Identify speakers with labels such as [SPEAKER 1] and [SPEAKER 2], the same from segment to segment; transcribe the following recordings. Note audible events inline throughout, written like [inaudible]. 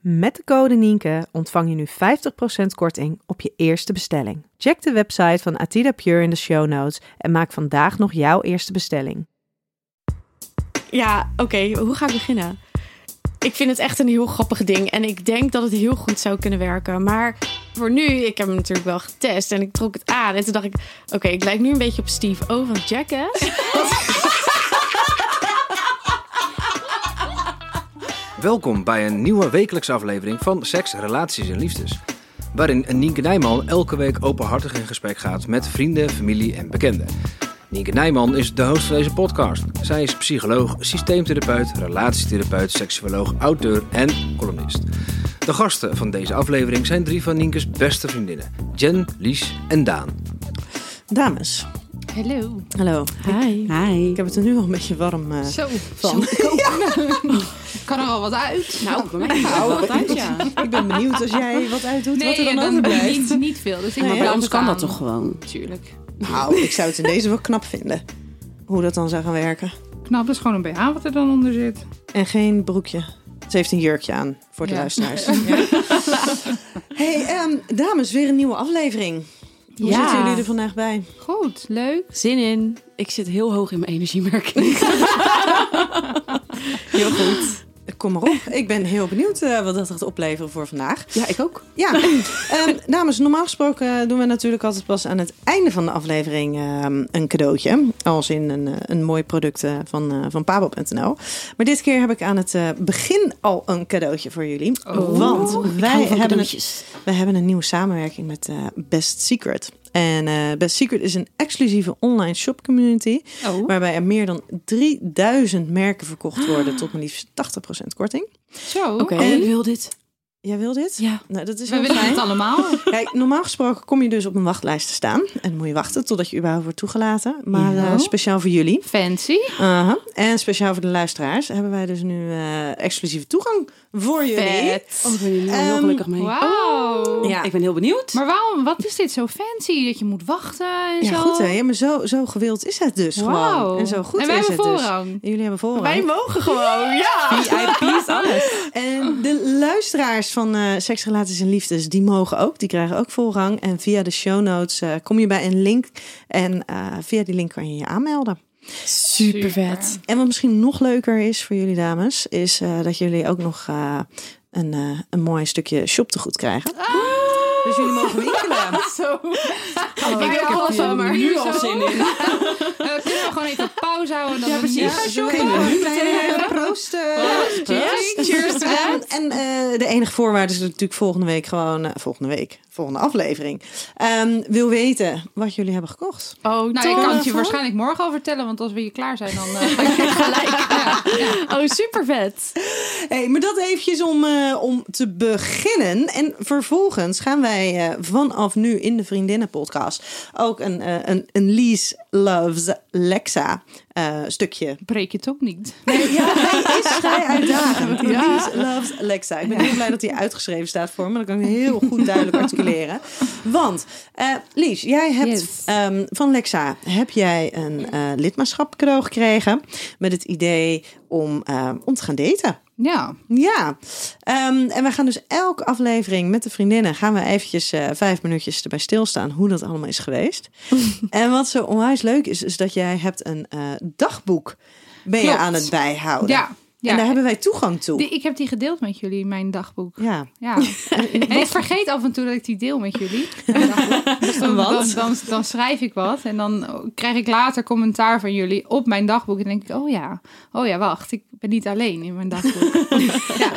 [SPEAKER 1] Met de code Nienke ontvang je nu 50% korting op je eerste bestelling. Check de website van Atida Pure in de show notes en maak vandaag nog jouw eerste bestelling.
[SPEAKER 2] Ja, oké, hoe ga ik beginnen? Ik vind het echt een heel grappig ding en ik denk dat het heel goed zou kunnen werken. Maar voor nu, ik heb hem natuurlijk wel getest en ik trok het aan. En toen dacht ik, oké, ik lijk nu een beetje op Steve O van Jackass.
[SPEAKER 3] Welkom bij een nieuwe wekelijkse aflevering van Seks, Relaties en Liefdes. Waarin Nienke Nijman elke week openhartig in gesprek gaat met vrienden, familie en bekenden. Nienke Nijman is de host van deze podcast. Zij is psycholoog, systeemtherapeut, relatietherapeut, seksuoloog, auteur en columnist. De gasten van deze aflevering zijn drie van Nienke's beste vriendinnen: Jen, Lies en Daan.
[SPEAKER 4] Dames.
[SPEAKER 5] Hallo.
[SPEAKER 4] Hallo.
[SPEAKER 2] Hi.
[SPEAKER 4] Ik heb het er nu al een beetje warm eh,
[SPEAKER 5] Zo,
[SPEAKER 4] van. [laughs]
[SPEAKER 5] kan er al wat uit.
[SPEAKER 4] Nou, bij mij gaat het wel uit, ja. [laughs] Ik ben benieuwd als jij wat uitdoet, wat er dan
[SPEAKER 5] dat
[SPEAKER 4] overblijft.
[SPEAKER 5] niet, niet veel. Dus ik
[SPEAKER 4] Nee,
[SPEAKER 5] nee,
[SPEAKER 4] maar bij
[SPEAKER 6] Soms kan dat toch gewoon.
[SPEAKER 5] Natuurlijk.
[SPEAKER 4] Nou, ik zou het in deze wel knap vinden. Hoe dat dan zou gaan werken.
[SPEAKER 5] Knap, dat is gewoon een BH wat er dan onder zit.
[SPEAKER 4] En geen broekje. Ze heeft een jurkje aan, voor de
[SPEAKER 5] Ja. [laughs]
[SPEAKER 4] luisteraars. hey, ehm, dames, weer een nieuwe aflevering. Hoe
[SPEAKER 6] Ja.
[SPEAKER 4] zitten jullie er vandaag bij?
[SPEAKER 5] Goed, leuk.
[SPEAKER 6] Zin in. Ik zit heel hoog in mijn energiemerking.
[SPEAKER 4] Heel goed. Kom maar op. Ik ben heel benieuwd eh, wat dat gaat opleveren voor vandaag.
[SPEAKER 6] Ja, ik ook.
[SPEAKER 4] Ja, [laughs] ehm, dames, normaal gesproken eh, doen we natuurlijk altijd pas aan het einde van de aflevering ehm, een cadeautje. Als in een, eh, een mooi product eh, van, eh, van pabo.nl. Maar dit keer heb ik aan het eh, begin al een cadeautje voor jullie. want wij hebben, het, wij hebben een nieuwe samenwerking met eh, Best Secret. En eh, Best Secret is een exclusieve online shop community.
[SPEAKER 5] Oh,
[SPEAKER 4] Waarbij er meer dan 3000 merken verkocht worden tot maar liefst 80% korting.
[SPEAKER 5] zo.
[SPEAKER 6] Oké.
[SPEAKER 4] En-
[SPEAKER 6] Ik wil dit.
[SPEAKER 4] Jij wil dit?
[SPEAKER 6] Ja.
[SPEAKER 4] Nou, dat is
[SPEAKER 5] We
[SPEAKER 4] heel
[SPEAKER 5] willen
[SPEAKER 4] fijn.
[SPEAKER 5] het allemaal.
[SPEAKER 4] Kijk, normaal gesproken kom je dus op een wachtlijst te staan. En dan moet je wachten totdat je überhaupt wordt toegelaten. Maar
[SPEAKER 5] Ja.
[SPEAKER 4] eh, speciaal voor jullie.
[SPEAKER 5] Fancy.
[SPEAKER 4] Aha. En speciaal voor de luisteraars hebben wij dus nu eh, exclusieve toegang voor jullie.
[SPEAKER 5] Vet.
[SPEAKER 6] Oh, ik ben hier nu al heel
[SPEAKER 4] Ehm,
[SPEAKER 6] gelukkig mee.
[SPEAKER 5] Wauw.
[SPEAKER 6] Ja. Ik ben heel benieuwd.
[SPEAKER 5] Oh. Maar waarom? Wat is dit zo fancy? Dat je moet wachten en
[SPEAKER 4] Ja,
[SPEAKER 5] zo?
[SPEAKER 4] goed hè. Ja, maar zo, zo gewild is het dus
[SPEAKER 5] Wauw.
[SPEAKER 4] gewoon. En zo goed
[SPEAKER 5] En wij
[SPEAKER 4] is het
[SPEAKER 5] hebben
[SPEAKER 4] dus.
[SPEAKER 5] voorrang.
[SPEAKER 4] En jullie hebben voorrang.
[SPEAKER 5] Wij mogen
[SPEAKER 4] [laughs]
[SPEAKER 5] gewoon, ja.
[SPEAKER 6] VIP's, alles.
[SPEAKER 4] En de luisteraars van eh Seks, Relaties en Liefdes, die mogen ook. Die krijgen ook voorrang. En via de show notes eh, kom je bij een link. En eh, via die link kan je je aanmelden.
[SPEAKER 6] Super vet.
[SPEAKER 4] En wat misschien nog leuker is voor jullie dames, is eh, dat jullie ook nog eh, een, eh, een mooi stukje shoptegoed krijgen.
[SPEAKER 5] Ah.
[SPEAKER 4] Dus jullie mogen winkelen.
[SPEAKER 5] [laughs] Zo.
[SPEAKER 6] Oh,
[SPEAKER 5] ik heb alles al maar
[SPEAKER 6] nu
[SPEAKER 5] hier
[SPEAKER 6] al
[SPEAKER 5] zo.
[SPEAKER 6] zin in.
[SPEAKER 5] [laughs] Eh, kunnen we gewoon even pauze houden? en Dan ja,
[SPEAKER 4] Zullen we even een kleine proost. eh, [laughs]
[SPEAKER 5] Cheers.
[SPEAKER 4] En, en eh, de enige voorwaarde is natuurlijk volgende week gewoon, eh, volgende week, volgende aflevering, Ehm, wil weten wat jullie hebben gekocht.
[SPEAKER 6] Oh,
[SPEAKER 5] Nou, ik
[SPEAKER 6] tof.
[SPEAKER 5] kan het je
[SPEAKER 4] Toch?
[SPEAKER 5] waarschijnlijk morgen al vertellen, want als we hier klaar zijn, dan. eh, [laughs] gelijk. Ja.
[SPEAKER 6] Oh, super vet.
[SPEAKER 4] Hey, maar dat eventjes om, eh, om te beginnen. En vervolgens gaan wij eh, vanaf nu in de Vriendinnen-podcast ook een, eh, een, een Lies Loves Lexa eh, stukje.
[SPEAKER 5] Breek je het ook niet.
[SPEAKER 4] Ja, hij is vrij uitdagend. Lies Loves Lexa. Ik ben heel blij dat hij uitgeschreven staat voor me. Dan kan ik hem heel goed duidelijk articuleren. Want eh Lies, jij hebt
[SPEAKER 5] Yes.
[SPEAKER 4] ehm, van Lexa heb jij een eh lidmaatschap cadeau gekregen. Met het idee om, eh, om te gaan daten.
[SPEAKER 5] Ja.
[SPEAKER 4] Ja, Ehm, en we gaan dus elke aflevering met de vriendinnen... gaan we eventjes eh, vijf minuutjes erbij stilstaan hoe dat allemaal is
[SPEAKER 5] [laughs]
[SPEAKER 4] geweest. en wat zo onwijs leuk is, is dat jij hebt een eh, dagboek... ben je
[SPEAKER 5] Klopt.
[SPEAKER 4] aan het bijhouden.
[SPEAKER 5] Ja, Ja.
[SPEAKER 4] en Oh, daar hebben wij toegang toe.
[SPEAKER 5] Die, ik heb die gedeeld met jullie, mijn dagboek.
[SPEAKER 4] Ja.
[SPEAKER 5] Ja.
[SPEAKER 4] [laughs]
[SPEAKER 5] En ik vergeet af en toe dat ik die deel met jullie. mijn
[SPEAKER 4] [laughs]
[SPEAKER 5] dagboek. Dus dan, dan,
[SPEAKER 4] Want?
[SPEAKER 5] dan, dan schrijf ik wat en dan krijg ik later commentaar van jullie op mijn dagboek. En dan denk ik, oh ja, oh ja, wacht, ik ben niet alleen in mijn
[SPEAKER 4] [laughs]
[SPEAKER 5] dagboek. ja.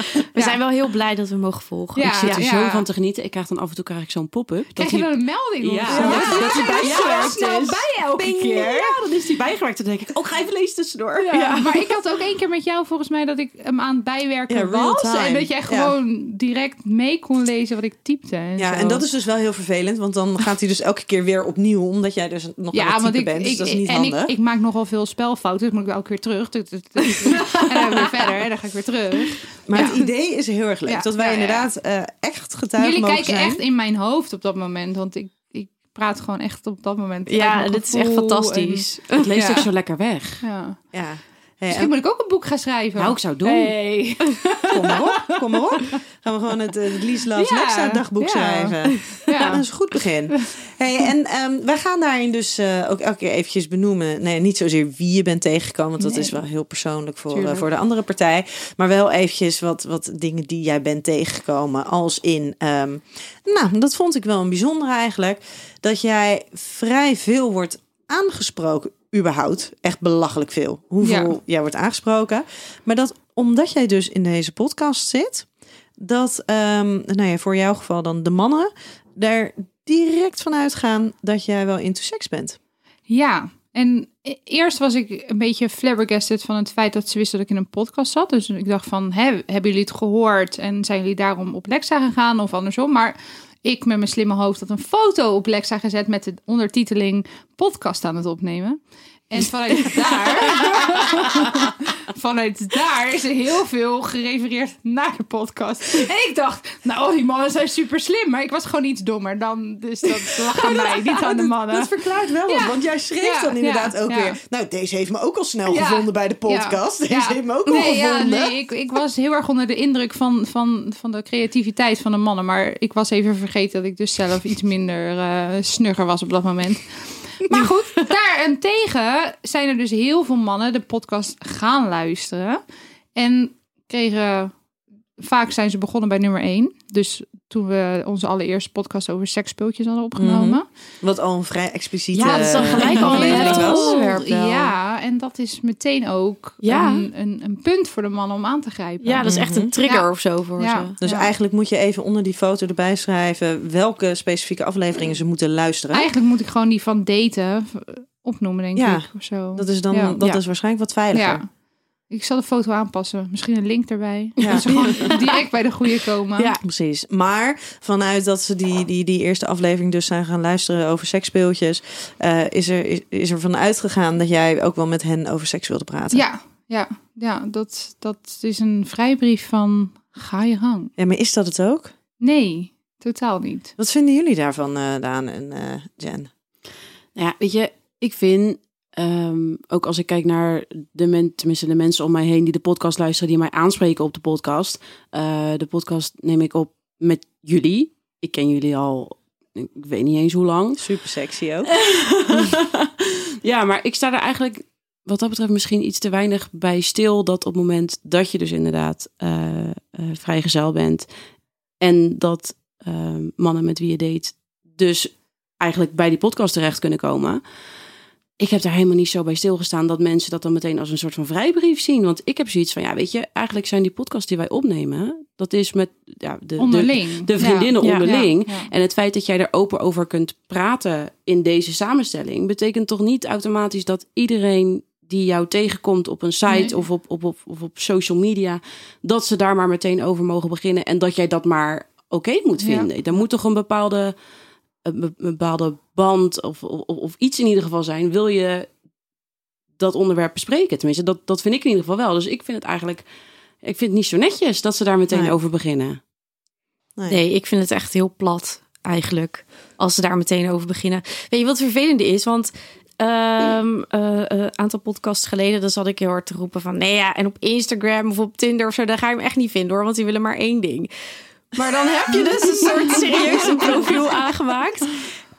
[SPEAKER 2] We
[SPEAKER 5] We
[SPEAKER 2] zijn wel heel blij dat we mogen volgen.
[SPEAKER 5] Ja.
[SPEAKER 7] ik zit er zo van te genieten. Ik krijg dan af en toe krijg ik zo'n pop-up. dat
[SPEAKER 5] Krijg je
[SPEAKER 7] die-
[SPEAKER 5] dan een melding? of
[SPEAKER 7] Ja.
[SPEAKER 5] zo?
[SPEAKER 7] Ja,
[SPEAKER 5] Ja.
[SPEAKER 7] dat is bijgewerkt
[SPEAKER 5] snel
[SPEAKER 7] is.
[SPEAKER 5] bij elke
[SPEAKER 7] Ping.
[SPEAKER 5] keer.
[SPEAKER 7] Ja, dan is die bijgewerkt. Dan denk ik, oh, ga even lezen tussendoor.
[SPEAKER 5] Ja, maar ik had ook één keer met jou volgens mij dat ik hem aan het bijwerken
[SPEAKER 4] Ja, real
[SPEAKER 5] was.
[SPEAKER 4] time.
[SPEAKER 5] En dat jij
[SPEAKER 4] Ja.
[SPEAKER 5] gewoon direct mee kon lezen wat ik typte. En
[SPEAKER 4] Ja,
[SPEAKER 5] zo.
[SPEAKER 4] en dat is dus wel heel vervelend, want dan gaat hij dus elke keer weer opnieuw, omdat jij dus nog aan
[SPEAKER 5] Ja,
[SPEAKER 4] het
[SPEAKER 5] want
[SPEAKER 4] typen
[SPEAKER 5] ik,
[SPEAKER 4] bent.
[SPEAKER 5] ik,
[SPEAKER 4] dus dat is niet
[SPEAKER 5] en
[SPEAKER 4] handig.
[SPEAKER 5] ik, ik maak nogal veel spelfouten, dus moet ik elke keer terug. Tut, tut, tut, tut. en dan weer verder, en dan ga ik weer terug.
[SPEAKER 4] maar
[SPEAKER 5] ja.
[SPEAKER 4] het idee is heel erg leuk,
[SPEAKER 5] Ja,
[SPEAKER 4] dat wij
[SPEAKER 5] ja, ja.
[SPEAKER 4] inderdaad eh, echt getuigen
[SPEAKER 5] Jullie
[SPEAKER 4] mogen
[SPEAKER 5] kijken
[SPEAKER 4] zijn.
[SPEAKER 5] echt in mijn hoofd op dat moment, want ik, ik praat gewoon echt op dat moment. uit
[SPEAKER 2] Ja,
[SPEAKER 5] mijn
[SPEAKER 2] dit is echt
[SPEAKER 5] gevoel
[SPEAKER 2] fantastisch.
[SPEAKER 7] Het leest
[SPEAKER 5] Ja.
[SPEAKER 7] ook zo lekker weg.
[SPEAKER 5] en- ja.
[SPEAKER 4] Ja. Hey,
[SPEAKER 5] Misschien
[SPEAKER 4] en
[SPEAKER 5] moet ik ook een boek gaan schrijven.
[SPEAKER 7] Nou, ik zou het doen.
[SPEAKER 4] kom maar op, kom maar op. Gaan we gewoon het, eh, het Lies Loves
[SPEAKER 5] Ja,
[SPEAKER 4] Lexa dagboek
[SPEAKER 5] ja.
[SPEAKER 4] schrijven. Ja,
[SPEAKER 5] ja.
[SPEAKER 4] dat is een goed begin. Hey, en ehm, wij gaan daarin dus eh, ook elke keer eventjes benoemen. Nee, niet zozeer wie je bent tegengekomen, want dat
[SPEAKER 5] Nee.
[SPEAKER 4] is wel heel persoonlijk voor,
[SPEAKER 5] Tuurlijk.
[SPEAKER 4] eh, voor de andere partij. Maar wel eventjes wat, wat dingen die jij bent tegengekomen. Als in, ehm, nou, dat vond ik wel een bijzonder eigenlijk. Dat jij vrij veel wordt aangesproken, überhaupt. Echt belachelijk veel. Hoeveel
[SPEAKER 5] Ja.
[SPEAKER 4] jij wordt aangesproken. Maar dat omdat jij dus in deze podcast zit, dat, ehm, nou ja, voor jouw geval dan de mannen, daar direct van uitgaan dat jij wel into seks bent.
[SPEAKER 5] Ja, en e- eerst was ik een beetje flabbergasted van het feit dat ze wisten dat ik in een podcast zat. Dus ik dacht van, hè, hebben jullie het gehoord en zijn jullie daarom op Lexa gegaan of andersom? Maar ik met mijn slimme hoofd had een foto op Lexa gezet met de ondertiteling podcast aan het opnemen. En
[SPEAKER 4] [laughs]
[SPEAKER 5] vanuit daar, [laughs] vanuit daar is er heel veel gerefereerd naar de podcast. En ik dacht, nou, die mannen zijn super slim, maar ik was gewoon iets dommer dan. Dus
[SPEAKER 4] [laughs]
[SPEAKER 5] dat lag aan mij, niet aan de mannen.
[SPEAKER 4] Dat verklaart wel, wat,
[SPEAKER 5] Ja.
[SPEAKER 4] want jij schreef
[SPEAKER 5] Ja,
[SPEAKER 4] dan inderdaad
[SPEAKER 5] ja,
[SPEAKER 4] ook
[SPEAKER 5] ja.
[SPEAKER 4] weer. Nou, deze heeft me ook al snel
[SPEAKER 5] Ja.
[SPEAKER 4] gevonden bij de podcast.
[SPEAKER 5] Ja.
[SPEAKER 4] Deze
[SPEAKER 5] Ja.
[SPEAKER 4] heeft me ook al
[SPEAKER 5] nee, ja,
[SPEAKER 4] gevonden.
[SPEAKER 5] nee, ik, ik was heel erg onder de indruk van, van, van de creativiteit van de mannen. Maar ik was even vergeten dat ik dus zelf iets minder eh, snugger was op dat moment. Maar
[SPEAKER 4] [laughs]
[SPEAKER 5] goed, daarentegen zijn er dus heel veel mannen de podcast gaan luisteren. En kregen... Vaak zijn ze begonnen bij nummer 1. Dus toen we onze allereerste podcast over seksspeeltjes hadden opgenomen.
[SPEAKER 4] Mhm. Wat al een vrij expliciete
[SPEAKER 2] Ja, dat is dan gelijk
[SPEAKER 4] eh,
[SPEAKER 2] al een
[SPEAKER 4] aflevering
[SPEAKER 2] heel
[SPEAKER 4] was.
[SPEAKER 2] onderwerp wel.
[SPEAKER 5] Ja, en dat is meteen ook
[SPEAKER 2] Ja.
[SPEAKER 5] een, een, een punt voor de man om aan te grijpen.
[SPEAKER 2] Ja, dat is echt een trigger
[SPEAKER 5] Ja.
[SPEAKER 2] of zo voor
[SPEAKER 5] Ja.
[SPEAKER 2] ze.
[SPEAKER 4] Dus
[SPEAKER 5] Ja.
[SPEAKER 4] eigenlijk moet je even onder die foto erbij schrijven welke specifieke afleveringen ze moeten luisteren.
[SPEAKER 5] Eigenlijk moet ik gewoon die van daten v- opnoemen, denk
[SPEAKER 4] Ja,
[SPEAKER 5] ik. Of zo.
[SPEAKER 4] dat is dan
[SPEAKER 5] Ja.
[SPEAKER 4] dat
[SPEAKER 5] Ja.
[SPEAKER 4] is waarschijnlijk wat veiliger.
[SPEAKER 5] ja. Ik zal de foto aanpassen. Misschien een link erbij.
[SPEAKER 4] Ja.
[SPEAKER 5] Dat ze gewoon direct bij de goede komen.
[SPEAKER 2] Ja.
[SPEAKER 4] Precies. Maar vanuit dat ze die, die, die eerste aflevering dus zijn gaan luisteren over seksspeeltjes, eh, is, er, is, is er van uitgegaan dat jij ook wel met hen over seks wilde praten.
[SPEAKER 5] ja, ja, ja dat, dat is een vrijbrief van ga je gang.
[SPEAKER 4] Ja, maar is dat het ook?
[SPEAKER 5] Nee, totaal niet.
[SPEAKER 4] Wat vinden jullie daarvan, eh, Daan en eh Jen?
[SPEAKER 7] Nou ja, weet je, ik vind, ehm, ook als ik kijk naar de, men, tenminste de mensen om mij heen die de podcast luisteren, die mij aanspreken op de podcast. eh, de podcast neem ik op met jullie. Ik ken jullie al, ik weet niet eens hoe lang.
[SPEAKER 4] Super sexy
[SPEAKER 5] Eh,
[SPEAKER 4] ook.
[SPEAKER 7] ja, maar ik sta er eigenlijk wat dat betreft misschien iets te weinig bij stil. Dat op het moment dat je dus inderdaad eh, eh, vrijgezel bent. En dat eh, mannen met wie je date dus eigenlijk bij die podcast terecht kunnen komen. Ik heb daar helemaal niet zo bij stilgestaan dat mensen dat dan meteen als een soort van vrijbrief zien. Want ik heb zoiets van, ja, weet je, eigenlijk zijn die podcasts die wij opnemen, dat is met ja, de, de,
[SPEAKER 5] Onderling.
[SPEAKER 7] de
[SPEAKER 5] Ja.
[SPEAKER 7] vriendinnen
[SPEAKER 5] Ja.
[SPEAKER 7] onderling.
[SPEAKER 5] Ja. Ja.
[SPEAKER 7] En het feit dat jij er open over kunt praten in deze samenstelling, betekent toch niet automatisch dat iedereen die jou tegenkomt op een site
[SPEAKER 5] Nee.
[SPEAKER 7] of, op, op, op, of op social media, dat ze daar maar meteen over mogen beginnen en dat jij dat maar oké moet
[SPEAKER 5] Ja.
[SPEAKER 7] vinden. Er moet toch een bepaalde, een be- bepaalde band of, of, of iets in ieder geval zijn. Wil je dat onderwerp bespreken? Tenminste, dat, dat vind ik in ieder geval wel. Dus ik vind het eigenlijk, ik vind het niet zo netjes dat ze daar meteen
[SPEAKER 4] Nee.
[SPEAKER 7] over beginnen.
[SPEAKER 2] Nee, ik vind het echt heel plat eigenlijk. Als ze daar meteen over beginnen. Weet je wat het vervelende is? Want een aantal podcasts geleden, dan zat ik heel hard te roepen van... Nee ja, en op Instagram of op Tinder of zo, daar ga je hem echt niet vinden hoor. Want die willen
[SPEAKER 5] [laughs]
[SPEAKER 2] maar één ding. Maar dan heb je dus een soort serieuze profiel aangemaakt.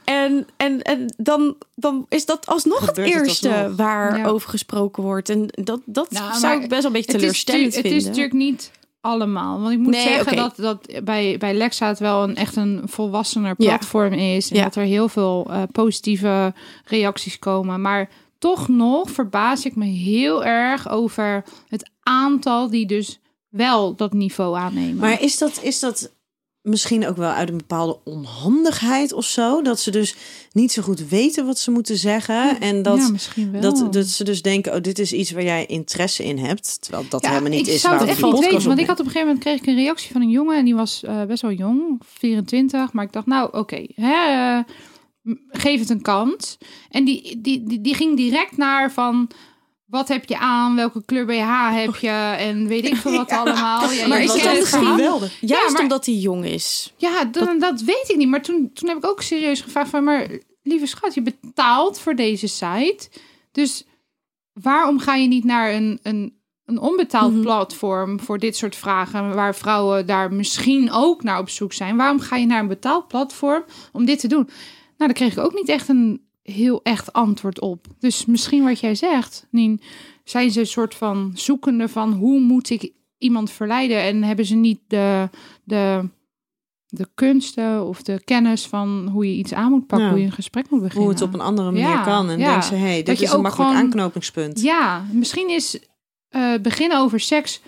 [SPEAKER 2] En, en, en dan, dan is dat alsnog
[SPEAKER 4] Gebeurt
[SPEAKER 2] het
[SPEAKER 4] het
[SPEAKER 2] eerste
[SPEAKER 4] alsnog.
[SPEAKER 2] waar
[SPEAKER 5] Ja.
[SPEAKER 2] over gesproken wordt. En dat, dat
[SPEAKER 5] Nou, maar
[SPEAKER 2] zou ik best wel een beetje
[SPEAKER 5] Het is, natuurlijk-
[SPEAKER 2] teleurstellend
[SPEAKER 5] het
[SPEAKER 2] vinden.
[SPEAKER 5] is natuurlijk niet allemaal. Want ik moet
[SPEAKER 2] Nee,
[SPEAKER 5] zeggen
[SPEAKER 2] oké.
[SPEAKER 5] dat, dat bij, bij Lexa het wel een, echt een volwassener
[SPEAKER 2] Ja.
[SPEAKER 5] platform is. En
[SPEAKER 2] Ja.
[SPEAKER 5] dat er heel veel eh, positieve reacties komen. Maar toch nog verbaas ik me heel erg over het aantal die dus wel dat niveau aannemen.
[SPEAKER 4] Maar is dat, is dat misschien ook wel uit een bepaalde onhandigheid of zo? Dat ze dus niet zo goed weten wat ze moeten zeggen. En dat,
[SPEAKER 5] ja, misschien wel.
[SPEAKER 4] dat, dat ze dus denken, oh, dit is iets waar jij interesse in hebt. Terwijl dat helemaal niet
[SPEAKER 5] ik
[SPEAKER 4] is
[SPEAKER 5] zou
[SPEAKER 4] waar
[SPEAKER 5] het
[SPEAKER 4] we
[SPEAKER 5] echt
[SPEAKER 4] die
[SPEAKER 5] niet
[SPEAKER 4] podcast
[SPEAKER 5] weten. Want
[SPEAKER 4] op
[SPEAKER 5] ik had op een gegeven moment kreeg ik een reactie van een jongen. En die was eh, best wel jong, 24. Maar ik dacht, nou oké, hè, eh, m- geef het een kans. En die, die, die, die ging direct naar van... Wat heb je aan? Welke kleur BH heb je? En weet
[SPEAKER 4] [laughs]
[SPEAKER 5] ik veel wat allemaal. Ja,
[SPEAKER 2] Maar
[SPEAKER 5] je
[SPEAKER 2] is
[SPEAKER 5] kent
[SPEAKER 2] dat
[SPEAKER 5] het
[SPEAKER 2] misschien
[SPEAKER 5] verhaal.
[SPEAKER 4] geweldig.
[SPEAKER 2] Juist
[SPEAKER 5] maar-
[SPEAKER 2] omdat hij jong is.
[SPEAKER 5] Ja, dan, dat weet ik niet. Maar toen, toen heb ik ook serieus gevraagd van... Maar lieve schat, je betaalt voor deze site. Dus waarom ga je niet naar een, een, een onbetaald
[SPEAKER 4] Mhm.
[SPEAKER 5] platform... voor dit soort vragen... waar vrouwen daar misschien ook naar op zoek zijn? Waarom ga je naar een betaald platform om dit te doen? Nou, daar kreeg ik ook niet echt een heel echt antwoord op. Dus misschien wat jij zegt, Nien... zijn ze een soort van zoekende van... hoe moet ik iemand verleiden? En hebben ze niet de... de de kunsten of de kennis van hoe je iets aan moet pakken,
[SPEAKER 4] Ja.
[SPEAKER 5] hoe je een gesprek moet beginnen.
[SPEAKER 4] Hoe het op een andere manier
[SPEAKER 5] Ja,
[SPEAKER 4] kan. En
[SPEAKER 5] ja.
[SPEAKER 4] denken ze, hey, dit
[SPEAKER 5] Dat je
[SPEAKER 4] is een
[SPEAKER 5] ook
[SPEAKER 4] makkelijk
[SPEAKER 5] gewoon-
[SPEAKER 4] aanknopingspunt.
[SPEAKER 5] Ja, misschien is eh, beginnen over seks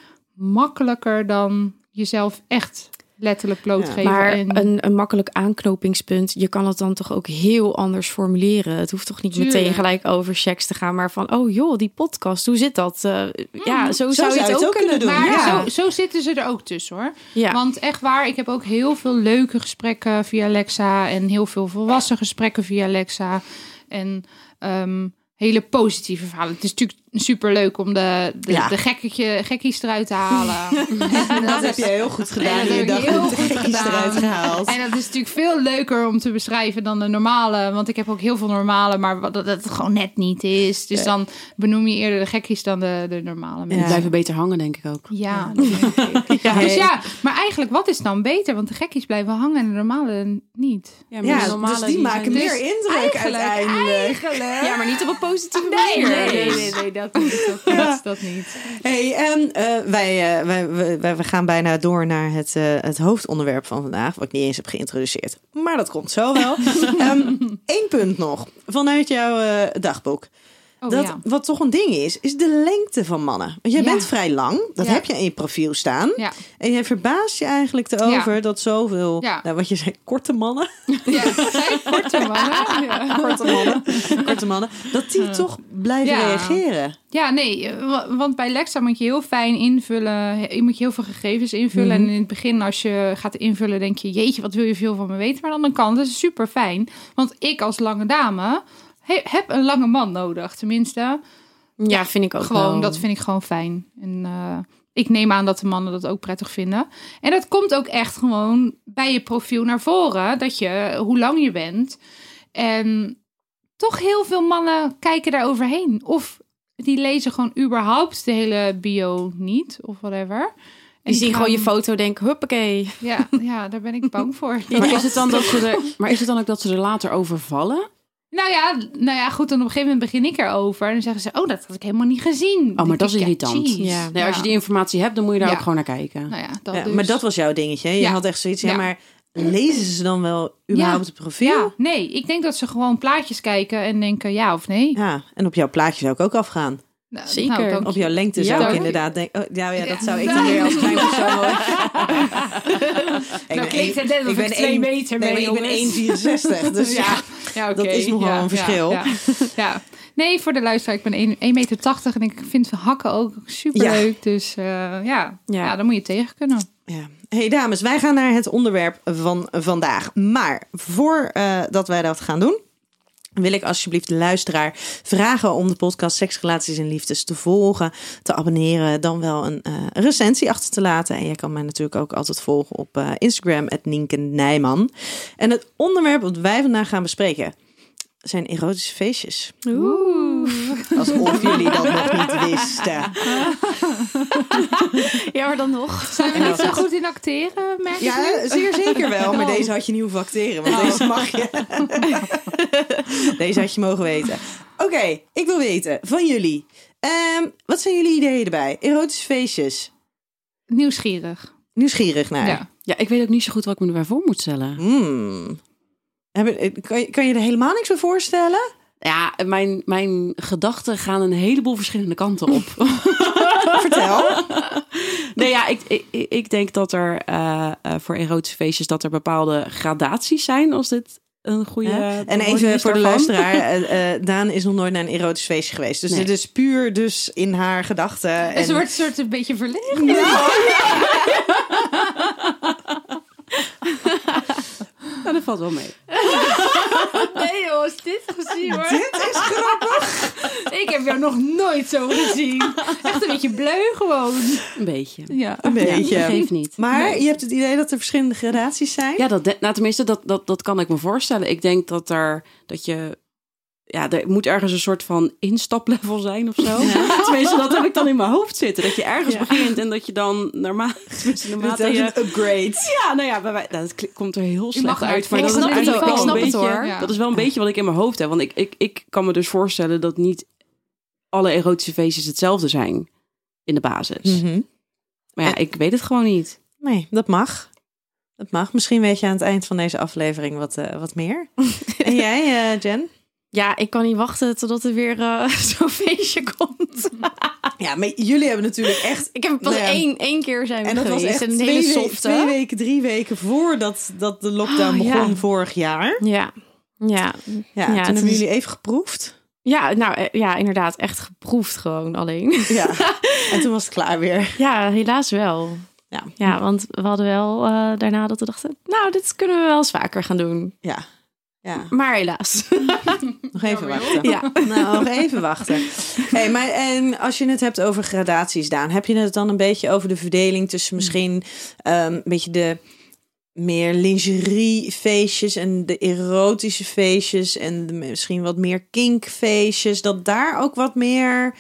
[SPEAKER 5] makkelijker dan jezelf echt letterlijk blootgeven.
[SPEAKER 2] Maar
[SPEAKER 5] en-
[SPEAKER 2] een, een makkelijk aanknopingspunt, je kan het dan toch ook heel anders formuleren. Het hoeft toch niet
[SPEAKER 5] Tuurlijk.
[SPEAKER 2] meteen gelijk over seks te gaan, maar van, oh joh, die podcast, hoe zit dat? Eh, ja, zo, zou je het ook kunnen doen.
[SPEAKER 5] Mm. maar
[SPEAKER 2] ja.
[SPEAKER 5] zo, zo zitten ze er ook tussen hoor.
[SPEAKER 2] Ja.
[SPEAKER 5] Want echt waar, ik heb ook heel veel leuke gesprekken via Alexa. En heel veel volwassen gesprekken via Alexa. En ehm, hele positieve verhalen. Het is natuurlijk superleuk om de, de,
[SPEAKER 4] Ja.
[SPEAKER 5] de gekketje, gekkies eruit te
[SPEAKER 2] [laughs]
[SPEAKER 5] halen.
[SPEAKER 4] En dat heb je heel
[SPEAKER 5] [laughs]
[SPEAKER 4] goed gedaan.
[SPEAKER 5] dat
[SPEAKER 4] Je
[SPEAKER 5] heb ik
[SPEAKER 4] dag
[SPEAKER 5] heel
[SPEAKER 4] met de
[SPEAKER 5] goed
[SPEAKER 4] gekkies
[SPEAKER 5] gedaan.
[SPEAKER 4] eruit gehaald.
[SPEAKER 5] En dat is natuurlijk veel leuker om te beschrijven dan de normale. Want ik heb ook heel veel normale, maar wat- dat het gewoon net niet is. Dus dan benoem je eerder de gekkies dan de, de normale mensen.
[SPEAKER 4] Ja.
[SPEAKER 7] Die blijven beter hangen, denk ik ook.
[SPEAKER 5] Ja, dat denk
[SPEAKER 4] [laughs]
[SPEAKER 5] ik. Dus ja, maar eigenlijk, wat is dan beter? Want de gekkies blijven hangen en de normale niet.
[SPEAKER 7] Ja,
[SPEAKER 4] Ja, dus die maken
[SPEAKER 5] dus
[SPEAKER 4] meer indruk uiteindelijk.
[SPEAKER 2] Ja, maar niet op een positieve
[SPEAKER 5] Ah,
[SPEAKER 2] manier.
[SPEAKER 5] dat niet. Dat,
[SPEAKER 4] [laughs]
[SPEAKER 5] dat, dat niet.
[SPEAKER 4] Hey, en eh, wij, eh, wij, wij, wij- we gaan bijna door naar het, eh, het hoofdonderwerp van vandaag, wat ik niet eens heb geïntroduceerd. Maar dat komt zo
[SPEAKER 5] [laughs]
[SPEAKER 4] wel. Eén punt nog vanuit jouw eh, dagboek.
[SPEAKER 5] Oh,
[SPEAKER 4] dat,
[SPEAKER 5] ja.
[SPEAKER 4] Wat toch een ding is, is de lengte van mannen. Want jij
[SPEAKER 5] Ja.
[SPEAKER 4] bent vrij lang, dat
[SPEAKER 5] Ja.
[SPEAKER 4] heb je in je profiel staan.
[SPEAKER 5] Ja.
[SPEAKER 4] En jij verbaast je eigenlijk erover dat zoveel,
[SPEAKER 5] Ja.
[SPEAKER 4] nou, wat je zei, korte mannen, [laughs]
[SPEAKER 5] ja, het zijn korte mannen. Ja.
[SPEAKER 4] korte mannen, korte mannen dat
[SPEAKER 5] [laughs]
[SPEAKER 4] die toch blijven
[SPEAKER 5] Ja.
[SPEAKER 4] reageren.
[SPEAKER 5] Ja, nee, eh, wa- want bij Lexa moet je heel fijn invullen. Je moet je heel veel gegevens invullen. En in het begin, als je gaat invullen, denk je: Jeetje, wat wil je veel van me weten? Maar aan de andere kant is het super fijn. Want ik als lange dame he- heb een lange man nodig. Tenminste,
[SPEAKER 2] Ja, vind ik ook
[SPEAKER 5] gewoon,
[SPEAKER 2] wel.
[SPEAKER 5] dat vind ik gewoon fijn. En eh, ik neem aan dat de mannen dat ook prettig vinden. En dat komt ook echt gewoon bij je profiel naar voren. Dat je, eh, hoe lang je bent. En toch heel veel mannen kijken daar overheen. Of die lezen gewoon überhaupt de hele bio niet. Of whatever. En
[SPEAKER 2] Die zien gewoon je
[SPEAKER 5] gaan-
[SPEAKER 2] foto denken, huppakee.
[SPEAKER 5] Ja, ja, daar ben ik bang voor.
[SPEAKER 2] [laughs]
[SPEAKER 7] Maar
[SPEAKER 4] [laughs]
[SPEAKER 7] is, het dan dat ze er, maar is het dan ook dat ze er later over vallen?
[SPEAKER 5] Nou ja, nou ja, goed, dan op een gegeven moment begin ik erover. En dan zeggen ze, oh, dat had ik helemaal niet gezien.
[SPEAKER 2] Oh,
[SPEAKER 7] Oh, maar
[SPEAKER 5] Dan
[SPEAKER 7] dat is
[SPEAKER 5] denk ik, ja,
[SPEAKER 7] irritant.
[SPEAKER 5] jeez.
[SPEAKER 2] Ja.
[SPEAKER 7] Nee, als je die informatie hebt, dan moet je daar
[SPEAKER 5] Ja.
[SPEAKER 7] ook gewoon naar kijken.
[SPEAKER 5] Nou ja, dat
[SPEAKER 4] Ja,
[SPEAKER 5] dus.
[SPEAKER 4] Maar dat was jouw dingetje. hè? Je
[SPEAKER 5] Ja.
[SPEAKER 4] had echt zoiets, ja,
[SPEAKER 5] Ja.
[SPEAKER 4] maar lezen ze dan wel überhaupt het profiel?
[SPEAKER 5] Ja, nee, ik denk dat ze gewoon plaatjes kijken en denken ja of nee.
[SPEAKER 4] Ja, en op jouw plaatje zou ik ook afgaan.
[SPEAKER 5] Nou,
[SPEAKER 2] Zeker.
[SPEAKER 5] nou, dank
[SPEAKER 4] Op
[SPEAKER 5] je.
[SPEAKER 4] jouw lengte
[SPEAKER 5] Ja,
[SPEAKER 4] zou ik
[SPEAKER 5] dank je.
[SPEAKER 4] inderdaad denken... Oh, ja, ja, dat
[SPEAKER 5] Ja. Nou,
[SPEAKER 4] zou ik dan weer als
[SPEAKER 5] [laughs]
[SPEAKER 4] klein persoon hoor. Ik ben
[SPEAKER 5] klinkt het
[SPEAKER 4] één-
[SPEAKER 5] net alsof
[SPEAKER 4] ik ben
[SPEAKER 5] ik twee
[SPEAKER 4] één-
[SPEAKER 5] meter
[SPEAKER 4] nee,
[SPEAKER 5] mee,
[SPEAKER 4] maar Ik ben 1,64. Dus
[SPEAKER 5] [laughs]
[SPEAKER 4] ja.
[SPEAKER 5] ja,
[SPEAKER 4] dat is nogal een verschil.
[SPEAKER 5] Ja, ja. Nee, voor de luisteraar, ik ben 1,80 meter en ik vind hakken ook superleuk. Dus eh, ja. Ja.
[SPEAKER 2] Ja.
[SPEAKER 5] dan moet je tegen kunnen.
[SPEAKER 4] Ja. Hey dames, wij gaan naar het onderwerp van vandaag. Maar voordat dat wij dat gaan doen, wil ik alsjeblieft de luisteraar vragen om de podcast Seks, Relaties en Liefdes te volgen, te abonneren, dan wel een eh, recensie achter te laten. En je kan mij natuurlijk ook altijd volgen op eh, Instagram, Nienke Nijman. En het onderwerp wat wij vandaag gaan bespreken zijn erotische feestjes.
[SPEAKER 2] Oeh.
[SPEAKER 4] Alsof jullie dat nog niet wisten.
[SPEAKER 2] Ja, maar dan nog.
[SPEAKER 5] Zijn we niet zo
[SPEAKER 4] dat-
[SPEAKER 5] goed in acteren, merk ik nu?
[SPEAKER 4] Ja, zeer zeker wel. Maar
[SPEAKER 5] Oh.
[SPEAKER 4] deze had je niet hoeven acteren, want deze mag je. deze had je mogen weten. Oké, ik wil weten van jullie. Ehm, wat zijn jullie ideeën erbij? Erotische feestjes.
[SPEAKER 5] Nieuwsgierig.
[SPEAKER 4] Nieuwsgierig naar.
[SPEAKER 5] Ja.
[SPEAKER 7] Ja, ik weet ook niet zo goed wat ik me ervoor moet stellen.
[SPEAKER 4] Hmm. Hebben- Kan je, kan je er helemaal niks voor voorstellen?
[SPEAKER 7] Ja, mijn, mijn gedachten gaan een heleboel verschillende kanten [laughs] op.
[SPEAKER 4] Vertel.
[SPEAKER 7] nee, ja, ik, ik, ik denk dat er eh, eh, voor erotische feestjes dat er bepaalde gradaties zijn, als dit een goede.
[SPEAKER 4] en
[SPEAKER 7] bewoording
[SPEAKER 4] even
[SPEAKER 7] is
[SPEAKER 4] voor de
[SPEAKER 7] daarvan.
[SPEAKER 4] luisteraar. eh, eh, Daan is nog nooit naar een erotisch feestje geweest. Dus
[SPEAKER 7] Nee.
[SPEAKER 4] dit is puur dus in haar gedachten.
[SPEAKER 5] Een
[SPEAKER 4] en-
[SPEAKER 5] soort, soort een beetje verlegen.
[SPEAKER 7] Nou, [laughs] dat valt wel mee.
[SPEAKER 5] [laughs] Nee joh, is dit gezien hoor.
[SPEAKER 4] Dit is grappig.
[SPEAKER 5] [laughs] Ik heb jou nog nooit zo gezien. [laughs] Echt een beetje bleu gewoon.
[SPEAKER 7] Een beetje.
[SPEAKER 5] Ja.
[SPEAKER 4] Een beetje.
[SPEAKER 7] Ja, geeft niet.
[SPEAKER 4] Maar je hebt het idee dat er verschillende gradaties zijn.
[SPEAKER 7] Ja, dat, de- nou, tenminste, dat, dat, dat kan ik me voorstellen. Ik denk dat er dat je. Ja, er moet ergens een soort van instaplevel zijn of zo. [laughs] Tenminste, dat heb ik dan in mijn hoofd zitten. Dat je ergens begint en dat je dan naarmate. [laughs] Tenminste,
[SPEAKER 4] Dit
[SPEAKER 7] naarmate
[SPEAKER 4] is
[SPEAKER 7] je.
[SPEAKER 4] een upgrade.
[SPEAKER 7] Ja, nou ja, bij mij, nou, dat kli- komt er heel
[SPEAKER 5] mag
[SPEAKER 7] slecht
[SPEAKER 5] maar
[SPEAKER 7] uit. Maar
[SPEAKER 5] ik
[SPEAKER 7] dat is
[SPEAKER 5] snap het
[SPEAKER 7] eigenlijk
[SPEAKER 5] ook,
[SPEAKER 7] wel
[SPEAKER 5] ik
[SPEAKER 7] een
[SPEAKER 5] snap
[SPEAKER 7] beetje,
[SPEAKER 5] het hoor. Ja.
[SPEAKER 7] Dat is wel een beetje wat ik in mijn hoofd heb. Want ik, ik, ik kan me dus voorstellen dat niet alle erotische feestjes hetzelfde zijn in de basis.
[SPEAKER 5] Mhm.
[SPEAKER 4] Mhm.
[SPEAKER 7] Maar ja, ik weet het gewoon niet.
[SPEAKER 4] Nee, dat mag. Dat mag. Misschien weet je aan het eind van deze aflevering wat, eh, wat [laughs] meer. en jij, eh, Jen?
[SPEAKER 2] Ja, ik kan niet wachten totdat er weer eh, [laughs] zo'n feestje komt.
[SPEAKER 4] Ja, maar jullie hebben [laughs] natuurlijk echt...
[SPEAKER 2] Ik heb pas
[SPEAKER 4] Nou ja.
[SPEAKER 2] één, één keer zijn we
[SPEAKER 4] En dat was
[SPEAKER 2] geweest.
[SPEAKER 4] echt
[SPEAKER 2] en
[SPEAKER 4] twee,
[SPEAKER 2] een hele
[SPEAKER 4] we-
[SPEAKER 2] softe.
[SPEAKER 4] twee weken, drie weken voordat dat de lockdown
[SPEAKER 2] Oh, ja.
[SPEAKER 4] begon vorig jaar.
[SPEAKER 2] Ja. Ja.
[SPEAKER 4] Ja,
[SPEAKER 2] Ja,
[SPEAKER 4] toen
[SPEAKER 2] het
[SPEAKER 4] hebben
[SPEAKER 2] is-
[SPEAKER 4] jullie even geproefd. [laughs]
[SPEAKER 2] ja, nou eh, ja, inderdaad. Echt geproefd gewoon alleen. [laughs]
[SPEAKER 4] Ja. en toen was het klaar weer.
[SPEAKER 2] Ja, helaas wel.
[SPEAKER 4] Ja.
[SPEAKER 2] ja, want we hadden wel eh, daarna dat we dachten... nou, dit kunnen we wel eens vaker gaan doen.
[SPEAKER 4] Ja. Ja,
[SPEAKER 2] Maar helaas.
[SPEAKER 4] nog even
[SPEAKER 5] Jammer, joh.
[SPEAKER 4] wachten.
[SPEAKER 2] Ja.
[SPEAKER 4] Nou, nog even wachten. Hey, maar en als je het hebt over gradaties, Daan, heb je het dan een beetje over de verdeling tussen misschien ehm, een beetje de meer lingeriefeestjes en de erotische feestjes en de misschien wat meer kinkfeestjes, dat daar ook wat meer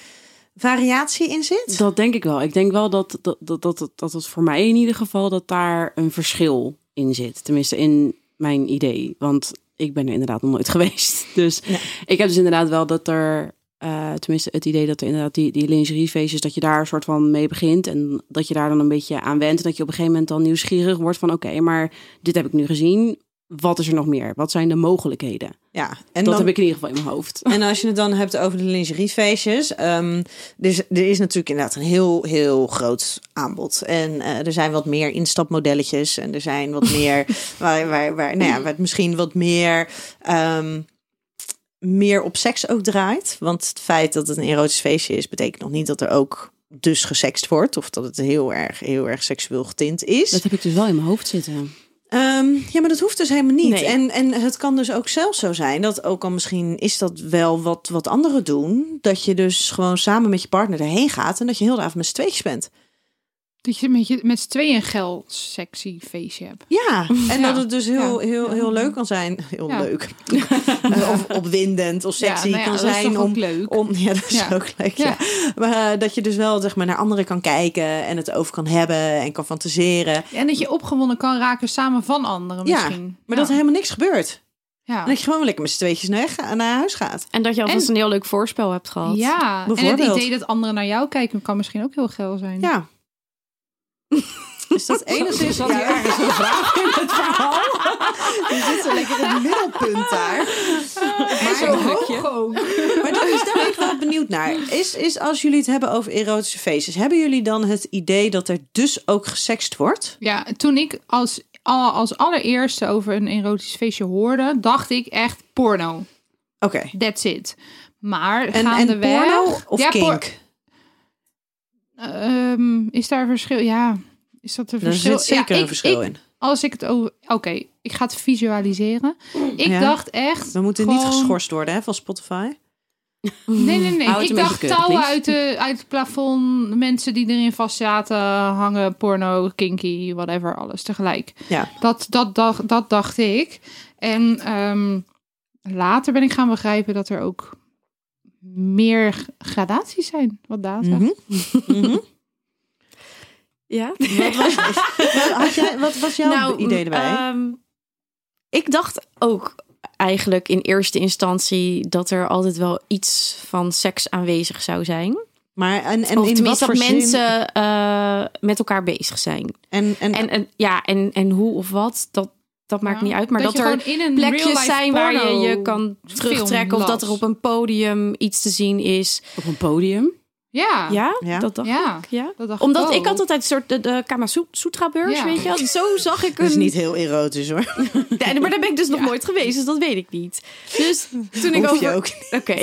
[SPEAKER 4] variatie in zit?
[SPEAKER 7] Dat denk ik wel. Ik denk wel dat dat, dat, dat, dat, dat het voor mij in ieder geval dat daar een verschil in zit. Tenminste, in mijn idee. Want ik ben er inderdaad nog nooit [laughs] geweest. Dus
[SPEAKER 4] Ja.
[SPEAKER 7] ik heb dus inderdaad wel dat er. eh, tenminste, het idee dat er inderdaad die, die lingeriefeestjes, dat je daar een soort van mee begint. En dat je daar dan een beetje aan went. En dat je op een gegeven moment dan nieuwsgierig wordt van oké, maar dit heb ik nu gezien. Wat is er nog meer? Wat zijn de mogelijkheden?
[SPEAKER 4] Ja, en
[SPEAKER 7] dat
[SPEAKER 4] dan...
[SPEAKER 7] heb ik in ieder geval in mijn hoofd.
[SPEAKER 4] [laughs] En als je het dan hebt over de lingeriefeestjes. ehm dus er is natuurlijk inderdaad een heel, heel groot aanbod. En eh, er zijn wat meer instapmodelletjes. En er zijn wat meer, waar, waar, waar, nou ja, waar het misschien wat meer, ehm, meer op seks ook draait. Want het feit dat het een erotisch feestje is, betekent nog niet dat er ook dus gesext wordt. Of dat het heel erg, heel erg seksueel getint is.
[SPEAKER 7] Dat heb ik dus wel in mijn hoofd zitten.
[SPEAKER 4] Ehm, ja, maar dat hoeft dus helemaal niet.
[SPEAKER 2] Nee.
[SPEAKER 4] En, en het kan dus ook zelfs zo zijn dat, ook al misschien is dat wel wat, wat anderen doen, dat je dus gewoon samen met je partner erheen gaat en dat je heel de avond met z'n tweetjes bent.
[SPEAKER 5] Dat je met, je, met z'n tweeën een geil sexy feestje hebt.
[SPEAKER 4] Ja, en
[SPEAKER 5] Ja.
[SPEAKER 4] dat het dus heel,
[SPEAKER 5] Ja.
[SPEAKER 4] heel, heel leuk kan zijn. Heel
[SPEAKER 5] Ja. [laughs]
[SPEAKER 4] leuk. Eh, of opwindend of sexy
[SPEAKER 5] nou ja,
[SPEAKER 4] kan
[SPEAKER 5] dat is
[SPEAKER 4] zijn
[SPEAKER 5] toch
[SPEAKER 4] om,
[SPEAKER 5] ook leuk?
[SPEAKER 4] om. Ja, dat is
[SPEAKER 5] Ja.
[SPEAKER 4] ook leuk. Ja.
[SPEAKER 5] Ja.
[SPEAKER 4] Maar eh, dat je dus wel zeg maar, naar anderen kan kijken en het over kan hebben en kan fantaseren.
[SPEAKER 5] En dat je opgewonden kan raken samen van anderen
[SPEAKER 4] Ja,
[SPEAKER 5] misschien.
[SPEAKER 4] Maar dat er helemaal niks gebeurt.
[SPEAKER 5] ja.
[SPEAKER 4] En dat je gewoon lekker met z'n tweetjes naar, naar huis gaat.
[SPEAKER 2] [laughs] En dat je alvast
[SPEAKER 5] En-
[SPEAKER 2] een heel leuk voorspel hebt gehad.
[SPEAKER 5] Ja, en het
[SPEAKER 4] Bijvoorbeeld.
[SPEAKER 5] idee dat anderen naar jou kijken kan misschien ook heel geil zijn.
[SPEAKER 4] Ja. Is dat enigszins wat ja. ergens een vraag in het [laughs] verhaal? Je zit zo lekker in het middelpunt daar. Maar, maar dat is, daar ben ik wel benieuwd naar. Is, is als jullie het hebben over erotische feestjes, hebben jullie dan het idee dat er dus ook gesext wordt?
[SPEAKER 5] Ja, toen ik als, al- als allereerste over een erotisch feestje hoorde, dacht ik echt porno.
[SPEAKER 4] Oké.
[SPEAKER 5] That's it. Maar
[SPEAKER 4] En, en
[SPEAKER 5] gaandeweg...
[SPEAKER 4] porno of
[SPEAKER 5] Ja, por-
[SPEAKER 4] kink?
[SPEAKER 5] Ehm, is daar verschil? Ja, is dat een
[SPEAKER 4] Daar
[SPEAKER 5] verschil?
[SPEAKER 4] zit zeker
[SPEAKER 5] ja,
[SPEAKER 4] een verschil
[SPEAKER 5] ik-
[SPEAKER 4] in.
[SPEAKER 5] Als ik het over... Oké, ik ga het visualiseren. Ik
[SPEAKER 4] Ja.
[SPEAKER 5] dacht echt...
[SPEAKER 4] We moeten niet
[SPEAKER 5] gewoon-
[SPEAKER 4] geschorst worden hè, van Spotify.
[SPEAKER 5] Nee, nee, nee.
[SPEAKER 7] Hou het
[SPEAKER 5] Ik
[SPEAKER 7] een beetje
[SPEAKER 5] dacht
[SPEAKER 7] keurig,
[SPEAKER 5] touwen
[SPEAKER 7] please.
[SPEAKER 5] uit, de, uit het plafond. Mensen die erin vast zaten, hangen, porno, kinky, whatever, alles tegelijk.
[SPEAKER 4] Ja.
[SPEAKER 5] Dat, dat, dacht, dat dacht ik. En ehm, later ben ik gaan begrijpen dat er ook meer gradaties zijn. Wat Daan zegt.
[SPEAKER 4] Mhm. Mhm.
[SPEAKER 2] [laughs] Ja?
[SPEAKER 4] Wat was, wat, had jij, wat was jouw
[SPEAKER 2] Nou,
[SPEAKER 4] idee erbij?
[SPEAKER 2] ehm, ik dacht ook eigenlijk in eerste instantie dat er altijd wel iets van seks aanwezig zou zijn.
[SPEAKER 4] maar en, en in
[SPEAKER 2] of
[SPEAKER 4] wat
[SPEAKER 2] tenminste
[SPEAKER 4] voor
[SPEAKER 2] dat
[SPEAKER 4] zin-
[SPEAKER 2] mensen eh, met elkaar bezig zijn.
[SPEAKER 4] en, en,
[SPEAKER 2] En, en ja, en, en hoe of wat, dat, dat maakt niet uit. Maar dat, er
[SPEAKER 5] gewoon in een
[SPEAKER 2] plekjes
[SPEAKER 5] real-life
[SPEAKER 2] zijn waar je
[SPEAKER 5] porno-
[SPEAKER 2] je kan terugtrekken. Of
[SPEAKER 5] las.
[SPEAKER 2] dat er op een podium iets te zien is.
[SPEAKER 7] Op een podium.
[SPEAKER 5] Ja, ja.
[SPEAKER 2] Ja,
[SPEAKER 4] Ja.
[SPEAKER 2] dat dacht
[SPEAKER 5] Ja.
[SPEAKER 2] ik. Ja.
[SPEAKER 5] dat dacht
[SPEAKER 2] Omdat
[SPEAKER 5] ook.
[SPEAKER 2] ik altijd een soort de, de Kama Su- Sutra beurs,
[SPEAKER 5] Ja.
[SPEAKER 2] weet je wel. Zo zag
[SPEAKER 4] [laughs]
[SPEAKER 2] ik
[SPEAKER 4] dat
[SPEAKER 2] een...
[SPEAKER 4] is niet heel erotisch hoor.
[SPEAKER 2] Nee, maar daar ben ik dus nog
[SPEAKER 5] Ja.
[SPEAKER 2] nooit geweest, dus dat weet ik niet. Dus toen ik
[SPEAKER 4] Hoef je
[SPEAKER 2] over...
[SPEAKER 4] ook.
[SPEAKER 2] Oké.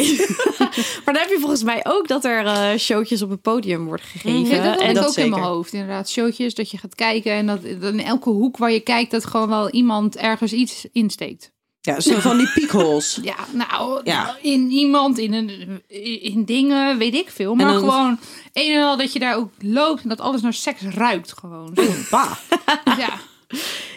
[SPEAKER 2] [laughs] maar dan heb je volgens mij ook dat er eh, showtjes op het podium worden gegeven.
[SPEAKER 5] Mm. Ja, dat had
[SPEAKER 2] en
[SPEAKER 5] ik
[SPEAKER 4] dat
[SPEAKER 5] ook in
[SPEAKER 4] zeker.
[SPEAKER 5] mijn hoofd. Inderdaad, showtjes dat je gaat kijken en dat dat in elke hoek waar je kijkt dat gewoon wel iemand ergens iets insteekt.
[SPEAKER 4] Ja, zo van die piekholes.
[SPEAKER 5] Ja, nou,
[SPEAKER 4] Ja.
[SPEAKER 5] in iemand, in, een, in dingen, weet ik veel. Maar
[SPEAKER 4] En dan-
[SPEAKER 5] gewoon, een en al dat je daar ook loopt en dat alles naar seks ruikt
[SPEAKER 2] [laughs]
[SPEAKER 5] gewoon. Zo.
[SPEAKER 4] Bah.
[SPEAKER 5] Ja,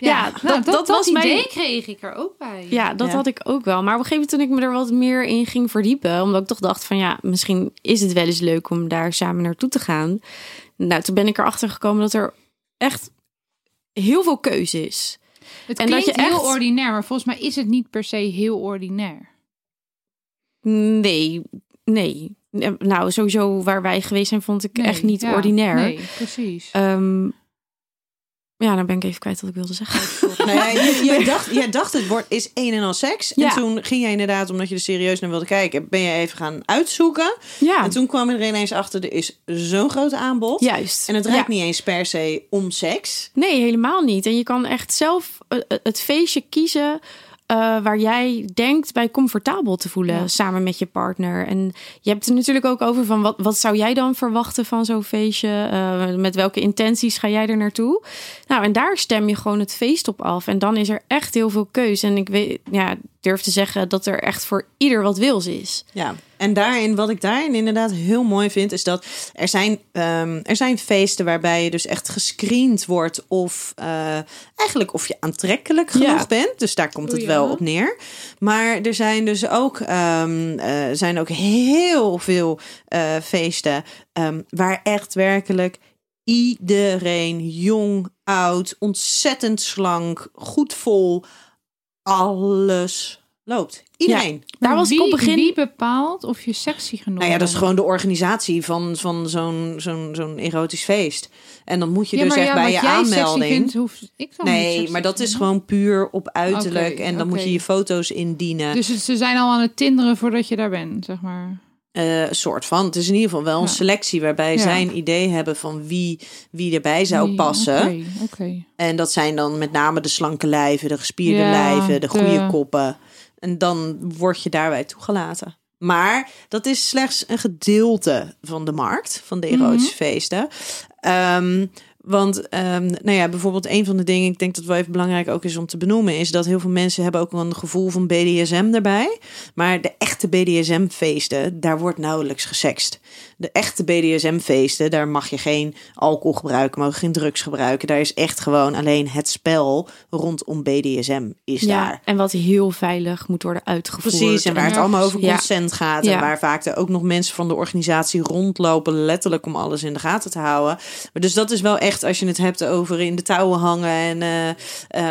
[SPEAKER 5] ja.
[SPEAKER 2] dat-
[SPEAKER 5] Nou, dat,
[SPEAKER 2] dat was
[SPEAKER 5] idee
[SPEAKER 2] mijn-
[SPEAKER 5] kreeg ik er ook bij.
[SPEAKER 2] Ja, dat
[SPEAKER 4] Ja.
[SPEAKER 2] had ik ook wel. Maar op een gegeven moment toen ik me er wat meer in ging verdiepen, omdat ik toch dacht van ja, misschien is het wel eens leuk om daar samen naartoe te gaan. Nou, toen ben ik erachter gekomen dat er echt heel veel keuze is.
[SPEAKER 5] Het
[SPEAKER 2] en dat
[SPEAKER 5] klinkt
[SPEAKER 2] je
[SPEAKER 5] heel
[SPEAKER 2] echt-
[SPEAKER 5] ordinair, maar volgens mij is het niet per se heel ordinair.
[SPEAKER 2] Nee, nee. Nou, sowieso waar wij geweest zijn vond ik
[SPEAKER 5] Nee,
[SPEAKER 2] echt niet
[SPEAKER 5] ja,
[SPEAKER 2] ordinair.
[SPEAKER 5] Nee, precies.
[SPEAKER 2] Ehm, ja, dan ben ik even kwijt wat ik wilde zeggen.
[SPEAKER 4] [laughs] Nou ja, je- jij, dacht, jij dacht het wordt is een en al seks.
[SPEAKER 2] Ja.
[SPEAKER 4] En toen ging jij inderdaad, omdat je er serieus naar wilde kijken, ben je even gaan uitzoeken.
[SPEAKER 2] ja,
[SPEAKER 4] En toen kwam je er ineens achter, er is zo'n groot aanbod.
[SPEAKER 2] juist.
[SPEAKER 4] En het draait
[SPEAKER 2] Ja.
[SPEAKER 4] niet eens per se om seks.
[SPEAKER 2] Nee, helemaal niet. En je kan echt zelf eh, eh, het feestje kiezen eh, waar jij denkt bij comfortabel te voelen samen met je partner. En je hebt het er natuurlijk ook over van wat, wat zou jij dan verwachten van zo'n feestje? Eh, met welke intenties ga jij er naartoe? Nou, en daar stem je gewoon het feest op af. En dan is er echt heel veel keus. En ik weet, ja, durf te zeggen dat er echt voor ieder wat wils is.
[SPEAKER 4] Ja, en daarin, wat ik daarin inderdaad heel mooi vind, is dat er zijn, ehm, er zijn feesten waarbij je dus echt gescreend wordt of eh, eigenlijk of je aantrekkelijk genoeg
[SPEAKER 2] Ja.
[SPEAKER 4] bent. Dus daar komt het
[SPEAKER 5] Oei,
[SPEAKER 4] wel
[SPEAKER 5] ja.
[SPEAKER 4] op neer. Maar er zijn dus ook, ehm, eh, zijn ook heel veel eh, feesten ehm, waar echt werkelijk iedereen, jong, oud, ontzettend slank, goed vol, alles loopt. Iedereen.
[SPEAKER 2] Daar was
[SPEAKER 5] wie,
[SPEAKER 2] ik op begin.
[SPEAKER 5] Wie bepaalt of je sexy genoeg
[SPEAKER 4] Nou ja, dat is
[SPEAKER 5] bent?
[SPEAKER 4] gewoon de organisatie van, van zo'n zo'n zo'n erotisch feest. En dan moet je
[SPEAKER 5] Ja,
[SPEAKER 4] dus
[SPEAKER 5] maar
[SPEAKER 4] echt
[SPEAKER 5] ja,
[SPEAKER 4] bij
[SPEAKER 5] wat
[SPEAKER 4] je
[SPEAKER 5] jij sexy
[SPEAKER 4] aanmelding.
[SPEAKER 5] vindt, hoeft ik dan niet
[SPEAKER 4] Nee,
[SPEAKER 5] sexy
[SPEAKER 4] maar dat
[SPEAKER 5] te
[SPEAKER 4] is
[SPEAKER 5] vinden.
[SPEAKER 4] gewoon puur op uiterlijk.
[SPEAKER 5] Oké,
[SPEAKER 4] en dan moet
[SPEAKER 5] oké.
[SPEAKER 4] je je foto's indienen.
[SPEAKER 5] Dus het- ze zijn al aan het tinderen voordat je daar bent, zeg maar.
[SPEAKER 4] Eh, soort van. Het is in ieder geval wel een
[SPEAKER 5] Ja.
[SPEAKER 4] selectie waarbij
[SPEAKER 5] Ja.
[SPEAKER 4] zij een idee hebben van wie, wie erbij zou
[SPEAKER 5] Nee,
[SPEAKER 4] passen.
[SPEAKER 5] Oké, oké.
[SPEAKER 4] En dat zijn dan met name de slanke lijven, de gespierde
[SPEAKER 5] Ja,
[SPEAKER 4] lijven, de goede
[SPEAKER 5] de-
[SPEAKER 4] koppen. En dan word je daarbij toegelaten. Maar dat is slechts een gedeelte van de markt, van de erotische
[SPEAKER 5] Mhm.
[SPEAKER 4] feesten. Ehm, want ehm, nou ja, bijvoorbeeld een van de dingen, ik denk dat wel even belangrijk ook is om te benoemen, is dat heel veel mensen hebben ook wel een gevoel van BDSM erbij. Maar de echte BDSM-feesten, daar wordt nauwelijks gesext. De echte BDSM-feesten, daar mag je geen alcohol gebruiken, mogen geen drugs gebruiken. Daar is echt gewoon alleen het spel rondom BDSM is daar.
[SPEAKER 2] Ja, en wat heel veilig moet worden uitgevoerd.
[SPEAKER 4] Precies, en waar het
[SPEAKER 5] Ja,
[SPEAKER 4] allemaal over
[SPEAKER 2] precies. Ja.
[SPEAKER 4] consent gaat.
[SPEAKER 2] Ja.
[SPEAKER 4] En waar vaak er ook nog mensen van de organisatie rondlopen, letterlijk om alles in de gaten te houden. Maar dus dat is wel echt, als je het hebt over in de touwen hangen en eh,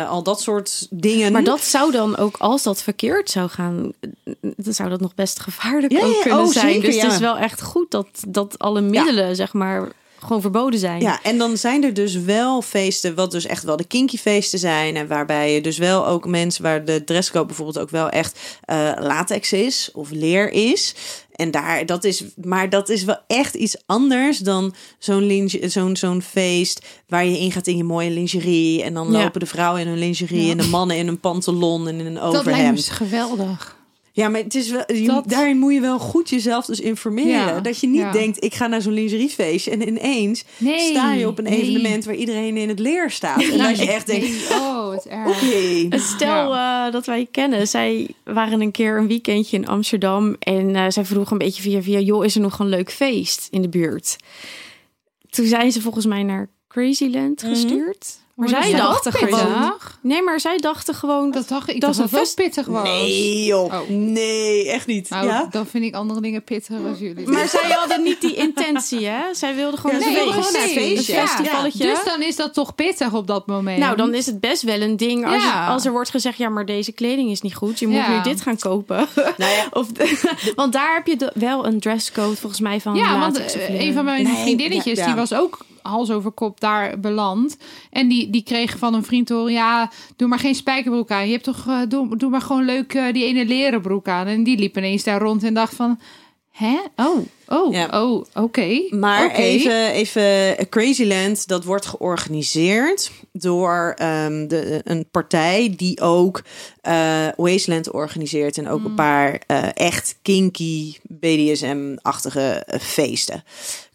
[SPEAKER 4] eh, al dat soort dingen.
[SPEAKER 2] Maar dat zou dan ook, als dat verkeerd zou gaan, eh, dan zou dat nog best gevaarlijk
[SPEAKER 4] Ja,
[SPEAKER 2] ook
[SPEAKER 4] ja,
[SPEAKER 2] kunnen
[SPEAKER 4] oh,
[SPEAKER 2] zijn.
[SPEAKER 4] zeker,
[SPEAKER 2] dus het
[SPEAKER 4] ja.
[SPEAKER 2] is wel echt goed dat, dat alle middelen, zeg maar, gewoon verboden zijn.
[SPEAKER 4] Ja, en dan zijn er dus wel feesten, wat dus echt wel de kinky feesten zijn. En waarbij je dus wel ook mensen, waar de dresscode bijvoorbeeld ook wel echt eh, latex is of leer is. En daar, dat is, maar dat is wel echt iets anders dan zo'n linge- zo'n zo'n feest waar je in gaat in je mooie lingerie. En dan
[SPEAKER 2] Ja.
[SPEAKER 4] lopen de vrouwen in hun lingerie
[SPEAKER 5] Ja.
[SPEAKER 4] en de mannen in hun pantalon en in een
[SPEAKER 5] Dat lijkt me
[SPEAKER 4] overhemd.
[SPEAKER 5] dus geweldig.
[SPEAKER 4] Ja, maar het is wel, je-
[SPEAKER 5] Dat-
[SPEAKER 4] daarin moet je wel goed jezelf dus informeren.
[SPEAKER 5] Ja,
[SPEAKER 4] Dat je niet
[SPEAKER 5] ja.
[SPEAKER 4] denkt, ik ga naar zo'n lingeriefeestje en ineens
[SPEAKER 5] Nee.
[SPEAKER 4] sta je op een
[SPEAKER 5] nee.
[SPEAKER 4] evenement waar iedereen in het leer staat.
[SPEAKER 5] [laughs]
[SPEAKER 4] En dat je echt denkt,
[SPEAKER 5] Nee, Nou, Oh, het erg.
[SPEAKER 4] oké.
[SPEAKER 2] En Stel eh, dat wij kennen, zij waren een keer een weekendje in Amsterdam en eh, zij vroeg een beetje via via, joh, is er nog een leuk
[SPEAKER 4] Mhm.
[SPEAKER 2] feest in de buurt? Toen zijn ze volgens mij naar Crazyland gestuurd. Maar zij
[SPEAKER 5] dat
[SPEAKER 2] dachten
[SPEAKER 5] ook pittig?
[SPEAKER 2] gewoon- Nee, maar zij dachten gewoon dat...
[SPEAKER 5] Dat dacht ik.
[SPEAKER 2] Dat
[SPEAKER 5] Dat
[SPEAKER 2] is
[SPEAKER 5] dacht
[SPEAKER 2] een
[SPEAKER 5] dat
[SPEAKER 2] vest-
[SPEAKER 5] ook pittig was.
[SPEAKER 4] Nee, joh.
[SPEAKER 5] Oh.
[SPEAKER 4] Nee, echt niet.
[SPEAKER 5] Nou,
[SPEAKER 4] ja?
[SPEAKER 5] dan vind ik andere dingen pittiger als jullie.
[SPEAKER 2] Maar zij hadden niet die intentie, hè? Zij wilden gewoon
[SPEAKER 4] Ja,
[SPEAKER 2] een
[SPEAKER 4] ze wilden
[SPEAKER 2] feest.
[SPEAKER 4] gewoon naar een feestje.
[SPEAKER 2] Een
[SPEAKER 4] Ja.
[SPEAKER 2] festivalletje.
[SPEAKER 5] Dus dan is dat toch pittig op dat moment.
[SPEAKER 2] Nou, dan is het best wel een ding als,
[SPEAKER 5] Ja.
[SPEAKER 2] je- als er wordt gezegd... ja, maar deze kleding is niet goed. Je moet
[SPEAKER 5] Ja.
[SPEAKER 2] nu dit gaan kopen. [laughs] of, want daar heb je de- wel een dresscode volgens mij
[SPEAKER 4] Oh,
[SPEAKER 2] van
[SPEAKER 5] Ja, want
[SPEAKER 2] latex of
[SPEAKER 5] eh,
[SPEAKER 2] linnen.
[SPEAKER 5] een van mijn
[SPEAKER 4] Nee,
[SPEAKER 5] vriendinnetjes,
[SPEAKER 4] ja, ja.
[SPEAKER 5] die was ook hals over kop daar beland. En die, die kreeg van een vriend hoor, ja, doe maar geen spijkerbroek aan. Je hebt toch, eh, doe, doe maar gewoon leuk eh, die ene leren broek aan. En die liep ineens daar rond en dacht van, hè? Oh, oh,
[SPEAKER 4] Ja.
[SPEAKER 5] oh, oké.
[SPEAKER 4] Maar
[SPEAKER 5] Oké.
[SPEAKER 4] even, even Crazyland, dat wordt georganiseerd door ehm, de, een partij die ook eh Wasteland organiseert. En ook een paar eh, echt kinky BDSM-achtige eh, feesten.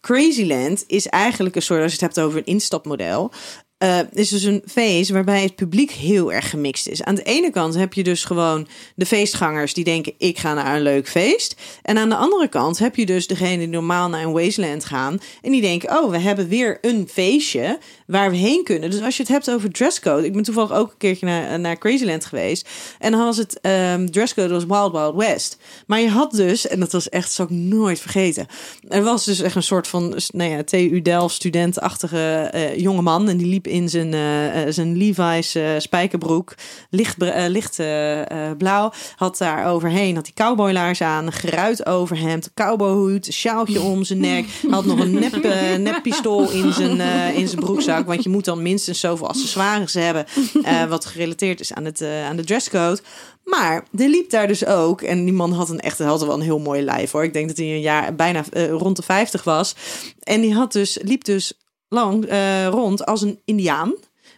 [SPEAKER 4] Crazyland is eigenlijk een soort, als je het hebt over een instapmodel. eh, is dus een feest waarbij het publiek heel erg gemixt is. Aan de ene kant heb je dus gewoon de feestgangers die denken: ik ga naar een leuk feest. En aan de andere kant heb je dus degene die normaal naar een wasteland gaan. En die denken: oh, we hebben weer een feestje waar we heen kunnen. Dus als je het hebt over dresscode. Ik ben toevallig ook een keertje naar, naar Crazyland geweest. En dan was het ehm, dresscode was Wild Wild West. Maar je had dus, en dat was echt, zal ik nooit vergeten. Er was dus echt een soort van, nou ja, TU Delft studentachtige eh jongeman. En die liep in zijn, eh, eh, zijn Levi's eh, spijkerbroek, licht, eh, licht eh, eh, blauw. Had daar overheen, had die cowboylaars aan, geruit overhemd, cowboyhoed, sjaaltje om zijn nek. Had nog een nep, eh, nep pistool in zijn, eh, in zijn broekzak. Want je moet dan minstens zoveel accessoires hebben. [laughs] eh, wat gerelateerd is aan, het, eh, aan de dresscode. Maar die liep daar dus ook. En die man had een echt had wel een heel mooi lijf hoor. Ik denk dat hij een jaar bijna eh, rond de 50 was. En die had dus, liep dus lang eh, rond als een indiaan.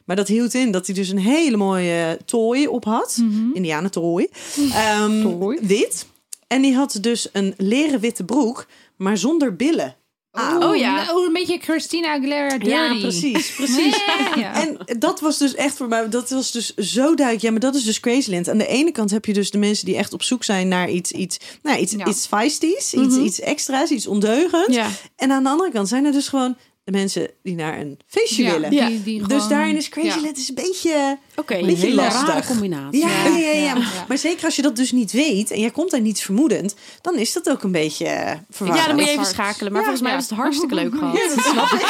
[SPEAKER 4] Maar dat hield in dat hij dus een hele mooie tooi op had. Indianentooi. Ehm,
[SPEAKER 5] Tooi.
[SPEAKER 4] Wit. En die had dus een leren witte broek, maar zonder billen. aan.
[SPEAKER 2] Oh ja.
[SPEAKER 5] nou, een beetje Christina Aguilera dirty.
[SPEAKER 2] Ja,
[SPEAKER 4] Precies, precies.
[SPEAKER 5] Nee, ja.
[SPEAKER 4] En dat was dus echt voor mij, dat was dus zo duidelijk. Ja, maar dat is dus Crazyland. Aan de ene kant heb je dus de mensen die echt op zoek zijn naar iets, iets, nou, iets,
[SPEAKER 5] Ja.
[SPEAKER 4] iets feisties, iets, iets extra's, iets ondeugends.
[SPEAKER 2] Mhm. Ja.
[SPEAKER 4] En aan de andere kant zijn er dus gewoon de mensen die naar een feestje
[SPEAKER 5] Ja,
[SPEAKER 4] willen.
[SPEAKER 5] die-
[SPEAKER 2] Ja.
[SPEAKER 5] die
[SPEAKER 4] Dus
[SPEAKER 5] gewoon-
[SPEAKER 4] daarin is
[SPEAKER 5] Ja.
[SPEAKER 4] Crazyland is een beetje,
[SPEAKER 2] Oké.
[SPEAKER 4] een beetje
[SPEAKER 7] hele
[SPEAKER 4] lastig.
[SPEAKER 7] rare combinatie.
[SPEAKER 4] Ja, ja, ja,
[SPEAKER 5] Ja.
[SPEAKER 4] Maar, maar zeker als je dat dus niet weet en jij komt daar niets vermoedend, dan is dat ook een beetje eh, verwarrend.
[SPEAKER 2] Ja, dan moet je
[SPEAKER 5] is
[SPEAKER 2] even
[SPEAKER 5] hard.
[SPEAKER 2] schakelen. Maar
[SPEAKER 5] Ja,
[SPEAKER 2] volgens mij
[SPEAKER 5] ja.
[SPEAKER 2] was het hartstikke leuk gehad.
[SPEAKER 4] Ja, dat snap ik.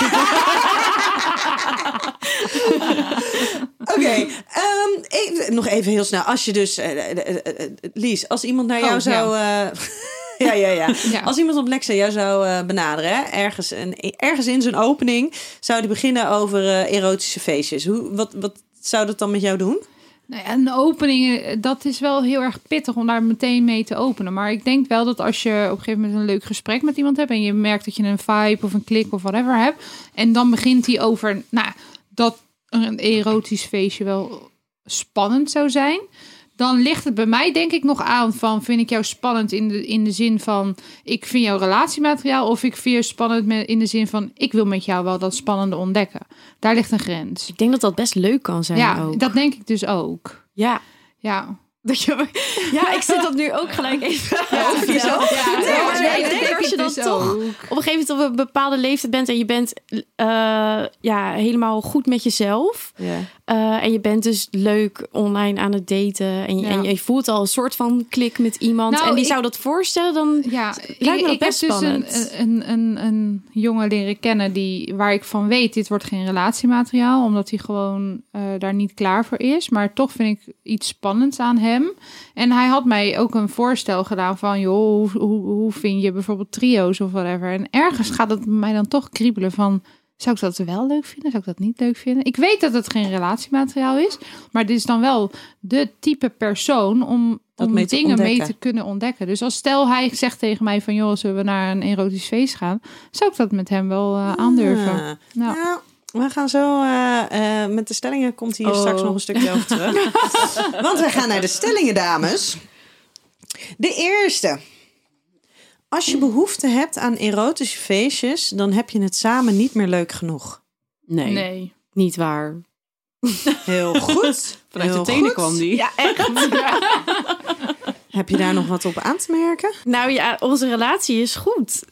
[SPEAKER 4] Oké,
[SPEAKER 5] [laughs]
[SPEAKER 4] ehm, even- nog even heel snel. Als je dus, eh, eh, eh, eh, Lies, als iemand naar jou
[SPEAKER 5] Oh,
[SPEAKER 4] zou. eh, [laughs] Ja. ja, ja,
[SPEAKER 5] Ja.
[SPEAKER 4] Als iemand op Lexa jou zou eh, benaderen, hè, ergens, een, ergens in zijn opening, zou die beginnen over eh, erotische feestjes. Hoe, wat, wat zou dat dan met jou doen?
[SPEAKER 5] Nou ja, een opening, eh, dat is wel heel erg pittig om daar meteen mee te openen. Maar ik denk wel dat als je op een gegeven moment een leuk gesprek met iemand hebt en je merkt dat je een vibe of een klik of whatever hebt. En dan begint hij over nou, dat een erotisch feestje wel spannend zou zijn. Dan ligt het bij mij denk ik nog aan van vind ik jou spannend in de, in de zin van ik vind jouw relatiemateriaal of ik vind je spannend met, in de zin van ik wil met jou wel dat spannende ontdekken. Daar ligt een grens.
[SPEAKER 2] Ik denk dat dat best leuk kan zijn
[SPEAKER 5] Ja,
[SPEAKER 2] ook.
[SPEAKER 5] dat denk ik dus ook.
[SPEAKER 2] Ja. [laughs]
[SPEAKER 5] Ja.
[SPEAKER 2] Dat je, ja, ik zit dat nu ook gelijk even over jezelf.
[SPEAKER 5] Oh,
[SPEAKER 2] Nee, maar
[SPEAKER 5] Ja,
[SPEAKER 2] ik
[SPEAKER 5] dat
[SPEAKER 2] denk als je dan
[SPEAKER 5] dus
[SPEAKER 2] toch
[SPEAKER 5] ook.
[SPEAKER 2] op een gegeven moment op een bepaalde leeftijd bent... en je bent eh, ja, helemaal goed met jezelf...
[SPEAKER 7] Ja.
[SPEAKER 2] eh, en je bent dus leuk online aan het daten... en, je-
[SPEAKER 5] Ja.
[SPEAKER 2] en je voelt al een soort van klik met iemand...
[SPEAKER 5] Nou,
[SPEAKER 2] en die
[SPEAKER 5] ik-
[SPEAKER 2] zou dat voorstellen, dan...
[SPEAKER 5] Ja,
[SPEAKER 2] me
[SPEAKER 5] ik,
[SPEAKER 2] dat
[SPEAKER 5] ik
[SPEAKER 2] best
[SPEAKER 5] heb dus
[SPEAKER 2] spannend.
[SPEAKER 5] een, een, een, een jongen leren kennen die, waar ik van weet, dit wordt geen relatiemateriaal, omdat hij gewoon eh, daar niet klaar voor is. Maar toch vind ik iets spannends aan hem. En hij had mij ook een voorstel gedaan van, joh, hoe, hoe, hoe vind je bijvoorbeeld trio's of whatever. En ergens gaat het mij dan toch kriebelen van, zou ik dat wel leuk vinden? Zou ik dat niet leuk vinden? Ik weet dat het geen relatiemateriaal is, maar dit is dan wel de type persoon om,
[SPEAKER 4] Dat
[SPEAKER 5] om
[SPEAKER 4] mee te
[SPEAKER 5] dingen mee
[SPEAKER 4] ontdekken.
[SPEAKER 5] te kunnen ontdekken. Dus als stel hij zegt tegen mij van joh, zullen we naar een erotisch feest gaan? Zou ik dat met hem wel eh, aandurven?
[SPEAKER 4] Ah.
[SPEAKER 5] Nou.
[SPEAKER 4] Nou, we gaan zo eh, eh, met de stellingen. Komt hier
[SPEAKER 2] Oh.
[SPEAKER 4] straks nog een stukje over
[SPEAKER 7] [laughs]
[SPEAKER 4] terug. Want we gaan naar de stellingen, dames. De eerste. Als je behoefte hebt aan erotische feestjes, dan heb je het samen niet meer leuk genoeg.
[SPEAKER 7] Nee.
[SPEAKER 2] Niet waar.
[SPEAKER 4] Heel goed.
[SPEAKER 7] Vanuit
[SPEAKER 4] Heel
[SPEAKER 7] de tenen
[SPEAKER 4] goed.
[SPEAKER 7] kwam die.
[SPEAKER 2] Ja, echt.
[SPEAKER 4] Heb je daar nog wat op aan te merken?
[SPEAKER 2] Nou ja, onze relatie is goed.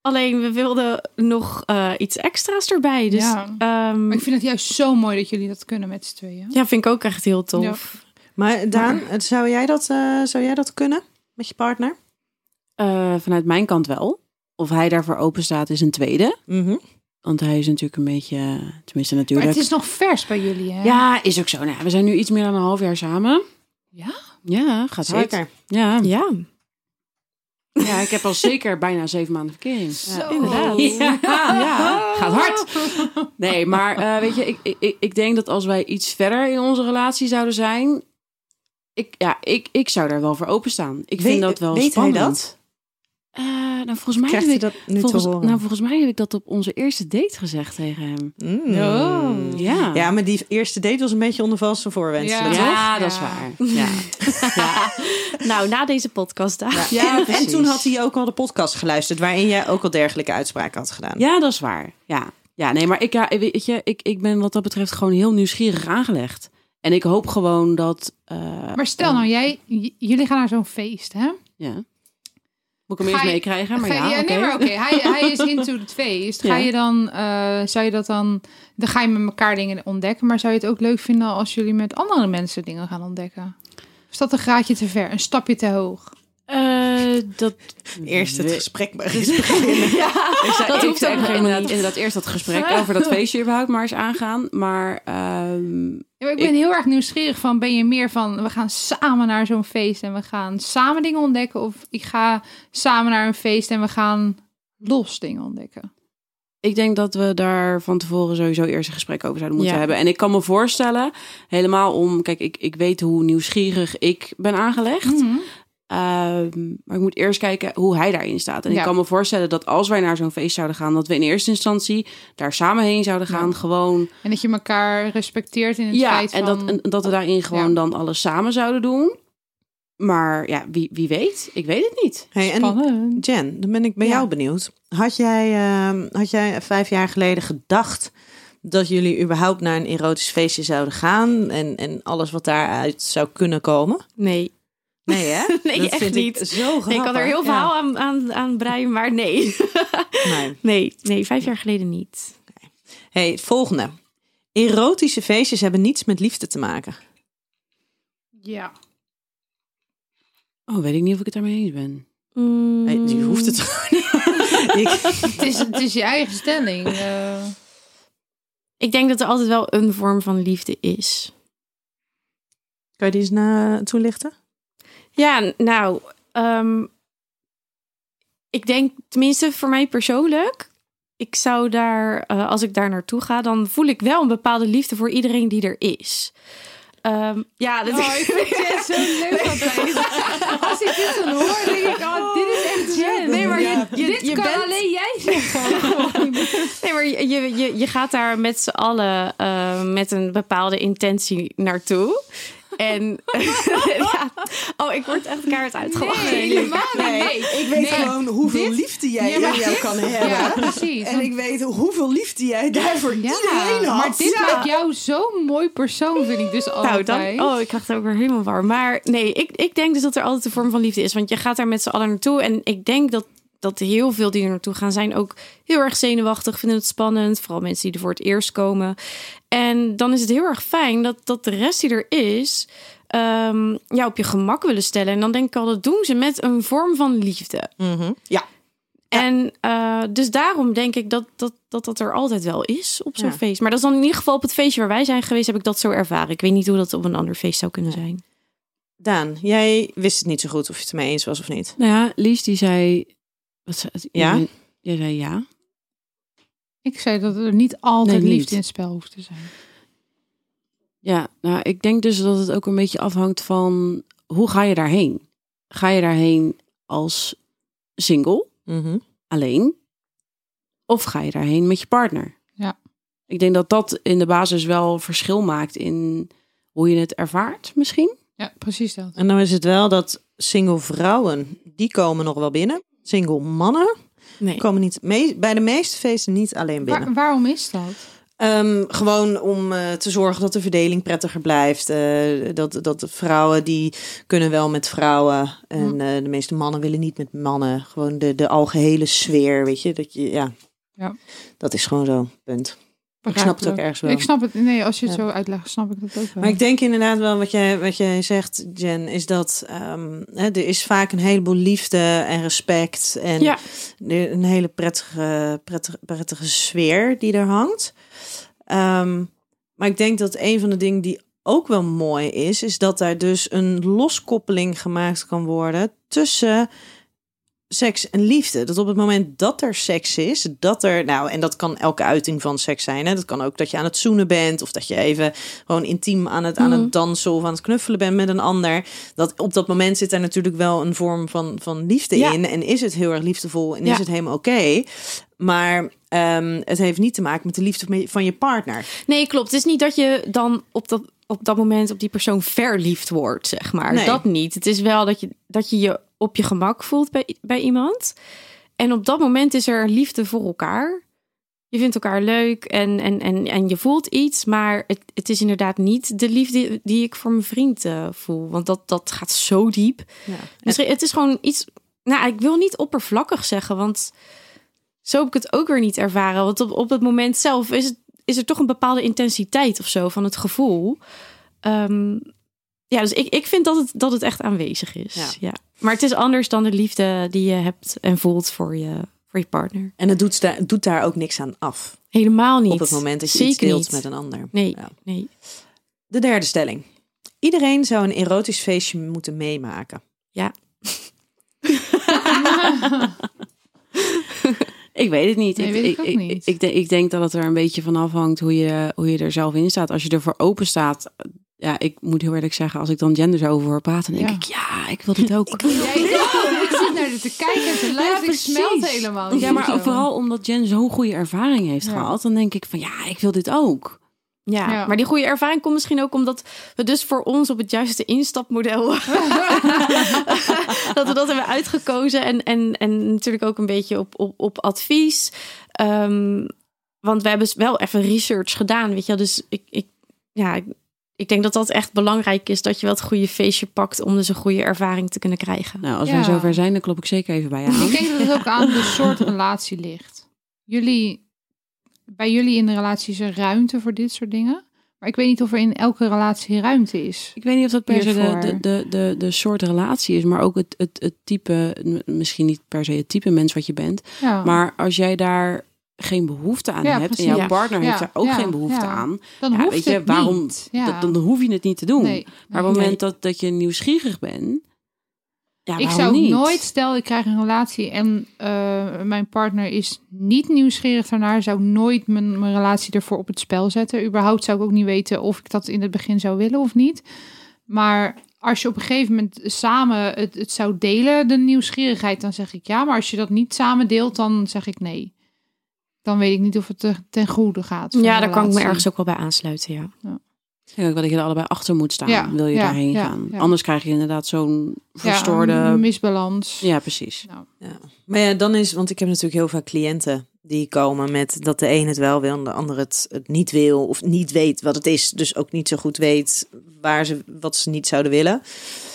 [SPEAKER 2] Alleen we wilden nog eh, iets extra's erbij. Dus
[SPEAKER 5] Ja.
[SPEAKER 2] ja.
[SPEAKER 5] Maar ik vind het juist zo mooi dat jullie dat kunnen met z'n tweeën.
[SPEAKER 2] ja, vind ik ook echt heel tof.
[SPEAKER 4] Maar Daan, het- zou jij dat, eh, zou jij dat kunnen met je partner?
[SPEAKER 7] Eh, vanuit mijn kant wel. Of hij daarvoor open staat is een tweede. Want hij is natuurlijk een beetje, tenminste
[SPEAKER 5] Maar
[SPEAKER 7] natuurlijk.
[SPEAKER 5] het is nog vers bij jullie, hè?
[SPEAKER 7] Ja, is ook zo. Nou, we zijn nu iets meer dan een half jaar samen.
[SPEAKER 5] Ja?
[SPEAKER 7] Ja, gaat hard.
[SPEAKER 4] Zeker.
[SPEAKER 7] Ja.
[SPEAKER 2] [laughs] Ja.
[SPEAKER 7] ja, ik heb al zeker bijna zeven maanden verkering.
[SPEAKER 5] Zo.
[SPEAKER 4] [laughs]
[SPEAKER 7] inderdaad. Ja. gaat hard. Nee, maar eh, weet je, ik, ik, ik denk dat als wij iets verder in onze relatie zouden zijn... Ik, ja, ik, ik zou daar wel voor openstaan. Ik vind
[SPEAKER 4] Weet-
[SPEAKER 7] dat wel
[SPEAKER 4] weet hij
[SPEAKER 7] spannend.
[SPEAKER 4] dat?
[SPEAKER 7] Eh, nou, volgens mij
[SPEAKER 4] Krijgt
[SPEAKER 7] heb
[SPEAKER 4] hij
[SPEAKER 7] ik
[SPEAKER 4] dat nu
[SPEAKER 7] volgens,
[SPEAKER 4] te horen?
[SPEAKER 7] Nou, volgens mij heb ik dat op onze eerste date gezegd tegen hem.
[SPEAKER 4] Mm.
[SPEAKER 7] Ja.
[SPEAKER 4] Ja, maar die eerste date was een beetje onder valse voorwensen.
[SPEAKER 5] Ja.
[SPEAKER 4] toch?
[SPEAKER 7] Ah. Ja, dat is
[SPEAKER 5] Ja.
[SPEAKER 7] waar. Ja.
[SPEAKER 2] Nou, na deze podcast daar.
[SPEAKER 4] Ja, en
[SPEAKER 7] precies.
[SPEAKER 4] toen had hij ook al de podcast geluisterd, waarin jij ook al dergelijke uitspraken had gedaan.
[SPEAKER 7] Ja, dat is waar. Ja, ja nee, maar ik, ja, weet je, ik, ik ben wat dat betreft gewoon heel nieuwsgierig aangelegd. En ik hoop gewoon dat. eh,
[SPEAKER 5] Maar stel nou, jij, j- jullie gaan naar zo'n feest, hè?
[SPEAKER 7] ja. Moet ik hem
[SPEAKER 5] Ga
[SPEAKER 7] eerst
[SPEAKER 5] je-
[SPEAKER 7] meekrijgen? Maar
[SPEAKER 5] Ga-
[SPEAKER 7] ja,
[SPEAKER 5] nee,
[SPEAKER 7] oké.
[SPEAKER 5] maar oké. Hij, hij is into het feest. Ga
[SPEAKER 7] Ja.
[SPEAKER 5] je dan, eh, zou je dat dan, dan ga je met elkaar dingen ontdekken. Maar zou je het ook leuk vinden als jullie met andere mensen dingen gaan ontdekken? Of Is dat een graadje te ver, een stapje te hoog?
[SPEAKER 7] Eh, dat
[SPEAKER 4] Eerst het
[SPEAKER 7] we-
[SPEAKER 4] gesprek maar eens beginnen.
[SPEAKER 7] [laughs] Ik zei-
[SPEAKER 2] Dat
[SPEAKER 7] ik
[SPEAKER 2] hoeft
[SPEAKER 7] zei
[SPEAKER 2] ook nog
[SPEAKER 7] inderdaad,
[SPEAKER 2] niet.
[SPEAKER 7] inderdaad eerst dat gesprek over [laughs] dat feestje überhaupt maar eens aangaan. Maar ehm,
[SPEAKER 5] Ja, maar ik ben heel erg nieuwsgierig van, ben je meer van, we gaan samen naar zo'n feest en we gaan samen dingen ontdekken? Of ik ga samen naar een feest en we gaan los dingen ontdekken?
[SPEAKER 7] Ik denk dat we daar van tevoren sowieso eerst een gesprek over zouden moeten
[SPEAKER 2] Ja.
[SPEAKER 7] hebben. En ik kan me voorstellen, helemaal om... Kijk, ik, ik weet hoe nieuwsgierig ik ben aangelegd. Ehm, maar ik moet eerst kijken hoe hij daarin staat. En
[SPEAKER 5] Ja.
[SPEAKER 7] ik kan me voorstellen dat als wij naar zo'n feest zouden gaan... dat we in eerste instantie daar samen heen zouden gaan. Gewoon,
[SPEAKER 5] En dat je elkaar respecteert in het
[SPEAKER 7] ja,
[SPEAKER 5] feit
[SPEAKER 7] en,
[SPEAKER 5] van...
[SPEAKER 7] dat, en dat we daarin gewoon
[SPEAKER 5] Ja.
[SPEAKER 7] dan alles samen zouden doen. Maar ja, wie, wie weet? Ik weet het niet.
[SPEAKER 4] Hey, en
[SPEAKER 5] Spannend.
[SPEAKER 4] Jen, dan ben ik bij
[SPEAKER 5] Ja.
[SPEAKER 4] jou benieuwd. Had jij, ehm, had jij vijf jaar geleden gedacht dat jullie überhaupt naar een erotisch feestje zouden gaan en, en alles wat daaruit zou kunnen komen?
[SPEAKER 2] Nee.
[SPEAKER 4] Nee, [laughs] hè?
[SPEAKER 2] Nee,
[SPEAKER 4] Dat
[SPEAKER 2] echt
[SPEAKER 4] vind ik
[SPEAKER 2] niet.
[SPEAKER 4] Zo grappig.
[SPEAKER 2] Ik had er heel
[SPEAKER 4] Ja.
[SPEAKER 2] verhaal aan, aan, aan breien, maar nee.
[SPEAKER 4] Nee.
[SPEAKER 2] Nee, nee, vijf jaar geleden niet.
[SPEAKER 4] Hey, het volgende. Erotische feestjes hebben niets met liefde te maken.
[SPEAKER 5] Ja.
[SPEAKER 7] Oh, weet ik niet of ik het daarmee eens ben.
[SPEAKER 2] Mm.
[SPEAKER 4] Hey, dus je hoeft
[SPEAKER 5] Hmm.
[SPEAKER 4] het
[SPEAKER 5] [laughs]
[SPEAKER 4] Ik-
[SPEAKER 5] [laughs] Het is, het is je eigen stelling. eh.
[SPEAKER 2] Ik denk dat er altijd wel een vorm van liefde is.
[SPEAKER 4] Kan je die eens na toelichten?
[SPEAKER 2] Ja, nou, ehm, ik denk, tenminste voor mij persoonlijk, ik zou daar, eh, als ik daar naartoe ga, dan voel ik wel een bepaalde liefde voor iedereen die er is. Ehm, ja, [laughs] dat
[SPEAKER 5] Oh, ik vind Jess zo leuk altijd. Als ik dit dan hoor, denk ik, oh, dit is echt Jen.
[SPEAKER 2] Nee, maar je-
[SPEAKER 5] Ja.
[SPEAKER 2] je-
[SPEAKER 5] dit
[SPEAKER 2] je
[SPEAKER 5] kan
[SPEAKER 2] bent-
[SPEAKER 5] alleen jij zeggen.
[SPEAKER 2] Nee, maar je, je, je- je gaat daar met z'n allen eh, met een bepaalde intentie naartoe. En [laughs] ja. oh, ik word echt kaart uitgelachen.
[SPEAKER 5] Nee, helemaal niet. Nee,
[SPEAKER 4] Ik weet
[SPEAKER 5] Nee.
[SPEAKER 4] gewoon hoeveel
[SPEAKER 5] Dit-
[SPEAKER 4] liefde jij
[SPEAKER 5] Ja, maar
[SPEAKER 4] in jou kan hebben.
[SPEAKER 5] Ja, precies.
[SPEAKER 4] En ik weet hoeveel liefde jij daarvoor
[SPEAKER 5] Ja,
[SPEAKER 4] iedereen had.
[SPEAKER 5] maar dit maakt jou zo'n mooi persoon, vind ik dus
[SPEAKER 2] Nou,
[SPEAKER 5] altijd.
[SPEAKER 2] dan, oh, ik krijg het ook weer helemaal warm. Maar nee, ik, ik denk dus dat er altijd een vorm van liefde is. Want je gaat daar met z'n allen naartoe. En ik denk dat, dat heel veel die er naartoe gaan zijn ook heel erg zenuwachtig. Vinden het spannend. Vooral mensen die er voor het eerst komen. En dan is het heel erg fijn dat, dat de rest die er is... ehm, ja, op je gemak willen stellen. En dan denk ik al, dat doen ze met een vorm van liefde.
[SPEAKER 4] Ja.
[SPEAKER 2] En eh, dus daarom denk ik dat dat, dat dat er altijd wel is op zo'n
[SPEAKER 4] Ja.
[SPEAKER 2] feest. Maar dat is dan in ieder geval op het feestje waar wij zijn geweest, heb ik dat zo ervaren. Ik weet niet hoe dat op een ander feest zou kunnen zijn.
[SPEAKER 4] Daan, jij wist het niet zo goed of je het ermee eens was of niet.
[SPEAKER 7] Nou ja, Lies die zei... Wat, zei-
[SPEAKER 4] Ja?
[SPEAKER 7] jij- Jij zei ja.
[SPEAKER 5] Ik zei dat er niet altijd
[SPEAKER 7] Nee, niet.
[SPEAKER 5] liefde in het spel hoeft te zijn.
[SPEAKER 7] Ja, nou, ik denk dus dat het ook een beetje afhangt van hoe ga je daarheen? Ga je daarheen als single,
[SPEAKER 4] Mhm.
[SPEAKER 7] alleen? Of ga je daarheen met je partner?
[SPEAKER 5] Ja.
[SPEAKER 7] Ik denk dat dat in de basis wel verschil maakt in hoe je het ervaart, misschien.
[SPEAKER 5] Ja, precies dat.
[SPEAKER 4] En dan is het wel dat single vrouwen, die komen nog wel binnen. Single mannen
[SPEAKER 2] Nee.
[SPEAKER 4] komen niet mee, bij de meeste feesten niet alleen binnen.
[SPEAKER 5] Waar- waarom is dat?
[SPEAKER 4] Ehm, gewoon om eh, te zorgen dat de verdeling prettiger blijft. Eh, dat, dat de vrouwen die kunnen wel met vrouwen. En eh, de meeste mannen willen niet met mannen. Gewoon de, de algehele sfeer, weet je. Dat, je ja.
[SPEAKER 5] Ja.
[SPEAKER 4] dat is gewoon zo. Punt. Ik snap het ook ergens wel.
[SPEAKER 5] Ik snap het. Nee, als je het
[SPEAKER 4] Ja.
[SPEAKER 5] zo uitlegt, snap ik dat ook wel.
[SPEAKER 4] Maar ik denk inderdaad wel wat jij, wat jij zegt, Jen, is dat ehm, hè, er is vaak een heleboel liefde en respect en
[SPEAKER 2] Ja.
[SPEAKER 4] de- een hele prettige, prettige, prettige sfeer die er hangt. Ehm, maar ik denk dat een van de dingen die ook wel mooi is, is dat daar dus een loskoppeling gemaakt kan worden tussen seks en liefde. Dat op het moment dat er seks is, dat er, nou, en dat kan elke uiting van seks zijn. Hè? Dat kan ook dat je aan het zoenen bent of dat je even gewoon intiem aan het, aan
[SPEAKER 2] Mm.
[SPEAKER 4] het dansen of aan het knuffelen bent met een ander. Dat op dat moment zit er natuurlijk wel een vorm van, van liefde
[SPEAKER 2] Ja.
[SPEAKER 4] in en is het heel erg liefdevol en
[SPEAKER 2] Ja.
[SPEAKER 4] is het helemaal oké. Maar ehm, het heeft niet te maken met de liefde van je partner.
[SPEAKER 2] Nee, klopt. Het is niet dat je dan op dat, op dat moment op die persoon verliefd wordt, zeg maar.
[SPEAKER 4] Nee.
[SPEAKER 2] Dat niet. Het is wel dat je dat je, je op je gemak voelt bij, bij iemand. En op dat moment is er liefde voor elkaar. Je vindt elkaar leuk en, en, en, en je voelt iets. Maar het, het is inderdaad niet de liefde die ik voor mijn vriend eh, voel. Want dat, dat gaat zo diep. Misschien, Dus het is gewoon iets. Nou, ik wil niet oppervlakkig zeggen, want zo heb ik het ook weer niet ervaren. Want op, op het moment zelf is, het, is er toch een bepaalde intensiteit of zo van het gevoel. Ehm, ja, dus ik, ik vind dat het, dat het echt aanwezig is.
[SPEAKER 4] Ja.
[SPEAKER 2] Ja. Maar het is anders dan de liefde die je hebt en voelt voor je, voor je partner.
[SPEAKER 4] En het doet, sta- het doet daar ook niks aan af.
[SPEAKER 2] Helemaal niet.
[SPEAKER 4] Op het moment dat je
[SPEAKER 2] Zeker
[SPEAKER 4] iets deelt
[SPEAKER 2] niet.
[SPEAKER 4] met een ander.
[SPEAKER 2] Nee,
[SPEAKER 4] Ja.
[SPEAKER 2] nee.
[SPEAKER 4] De derde stelling. Iedereen zou een erotisch feestje moeten meemaken.
[SPEAKER 7] Ik weet het niet.
[SPEAKER 5] Nee, weet ik ook niet.
[SPEAKER 7] Ik, denk- ik denk dat het er een beetje van afhangt hoe je, hoe je er zelf in staat. Als je ervoor open staat. Ja, ik moet heel eerlijk zeggen, als ik dan genders over hoor praten, dan denk
[SPEAKER 5] Ja.
[SPEAKER 7] ik, ja, ik wil dit
[SPEAKER 5] [laughs]
[SPEAKER 7] ook.
[SPEAKER 5] Jij ik zit naar dit te kijken en te luisteren. ik smelt helemaal.
[SPEAKER 7] Ja, maar ook
[SPEAKER 5] Zo.
[SPEAKER 7] vooral omdat Jen zo'n goede ervaring heeft
[SPEAKER 5] Ja.
[SPEAKER 7] gehad, dan denk ik van ja, ik wil dit ook.
[SPEAKER 2] Ja,
[SPEAKER 5] Ja.
[SPEAKER 2] maar die goede ervaring komt misschien ook omdat we dus voor ons op het juiste instapmodel. [laughs] dat we dat hebben uitgekozen. En, en, en natuurlijk ook een beetje op, op, op advies. Ehm, want we hebben wel even research gedaan, weet je wel. Dus ik, ik, ja, ik, ik denk dat dat echt belangrijk is. Dat je wel het goede feestje pakt om dus een goede ervaring te kunnen krijgen.
[SPEAKER 7] Nou, als
[SPEAKER 5] Ja.
[SPEAKER 7] wij zover zijn, dan klop ik zeker even bij je
[SPEAKER 5] Ik [laughs]
[SPEAKER 7] aan.
[SPEAKER 5] denk dat het ook aan de soort relatie ligt. Jullie, bij jullie in de relatie is er ruimte voor dit soort dingen. Maar ik weet niet of er in elke relatie ruimte is.
[SPEAKER 7] Ik weet niet of dat per se de,
[SPEAKER 5] Hiervoor.
[SPEAKER 7] de, de, de, de soort relatie is, maar ook het, het, het type, m- misschien niet per se het type mens wat je bent.
[SPEAKER 5] Ja,
[SPEAKER 7] Maar als jij daar geen behoefte aan
[SPEAKER 5] Oh. Ja,
[SPEAKER 7] hebt
[SPEAKER 5] precies.
[SPEAKER 7] en jouw
[SPEAKER 5] Ja.
[SPEAKER 7] partner
[SPEAKER 5] Ja,
[SPEAKER 7] heeft daar ook
[SPEAKER 5] ja,
[SPEAKER 7] geen behoefte
[SPEAKER 5] ja.
[SPEAKER 7] aan,
[SPEAKER 5] dan
[SPEAKER 7] ja,
[SPEAKER 5] hoeft
[SPEAKER 7] weet je,
[SPEAKER 5] het
[SPEAKER 7] waarom,
[SPEAKER 5] niet. Ja.
[SPEAKER 7] dat, dan hoef je het niet te doen.
[SPEAKER 5] Nee,
[SPEAKER 7] Maar op
[SPEAKER 5] nee.
[SPEAKER 7] het moment dat, dat je nieuwsgierig bent, ja,
[SPEAKER 5] ik
[SPEAKER 7] waarom
[SPEAKER 5] zou
[SPEAKER 7] niet?
[SPEAKER 5] nooit, stel ik krijg een relatie en eh, mijn partner is niet nieuwsgierig daarnaar, zou nooit mijn, mijn relatie ervoor op het spel zetten. Überhaupt zou ik ook niet weten of ik dat in het begin zou willen of niet. Maar als je op een gegeven moment samen het, het zou delen, de nieuwsgierigheid, dan zeg ik ja. Maar als je dat niet samen deelt, dan zeg ik nee. Dan weet ik niet of het eh, ten goede gaat. voor
[SPEAKER 2] Ja,
[SPEAKER 5] de
[SPEAKER 2] daar kan ik me
[SPEAKER 5] relatie.
[SPEAKER 2] ergens ook wel bij aansluiten, ja.
[SPEAKER 7] Ik denk ook wel dat je er allebei achter moet staan.
[SPEAKER 5] Ja,
[SPEAKER 7] Wil je
[SPEAKER 5] ja,
[SPEAKER 7] daarheen
[SPEAKER 5] ja,
[SPEAKER 7] gaan?
[SPEAKER 5] ja.
[SPEAKER 7] Anders krijg je inderdaad zo'n
[SPEAKER 5] Ja,
[SPEAKER 7] verstoorde.
[SPEAKER 5] een misbalans.
[SPEAKER 7] Ja, precies.
[SPEAKER 4] Maar ja, dan is, want ik heb natuurlijk heel vaak cliënten die komen met dat de een het wel wil en de ander het, het niet wil of niet weet wat het is, dus ook niet zo goed weet waar ze wat ze niet zouden willen.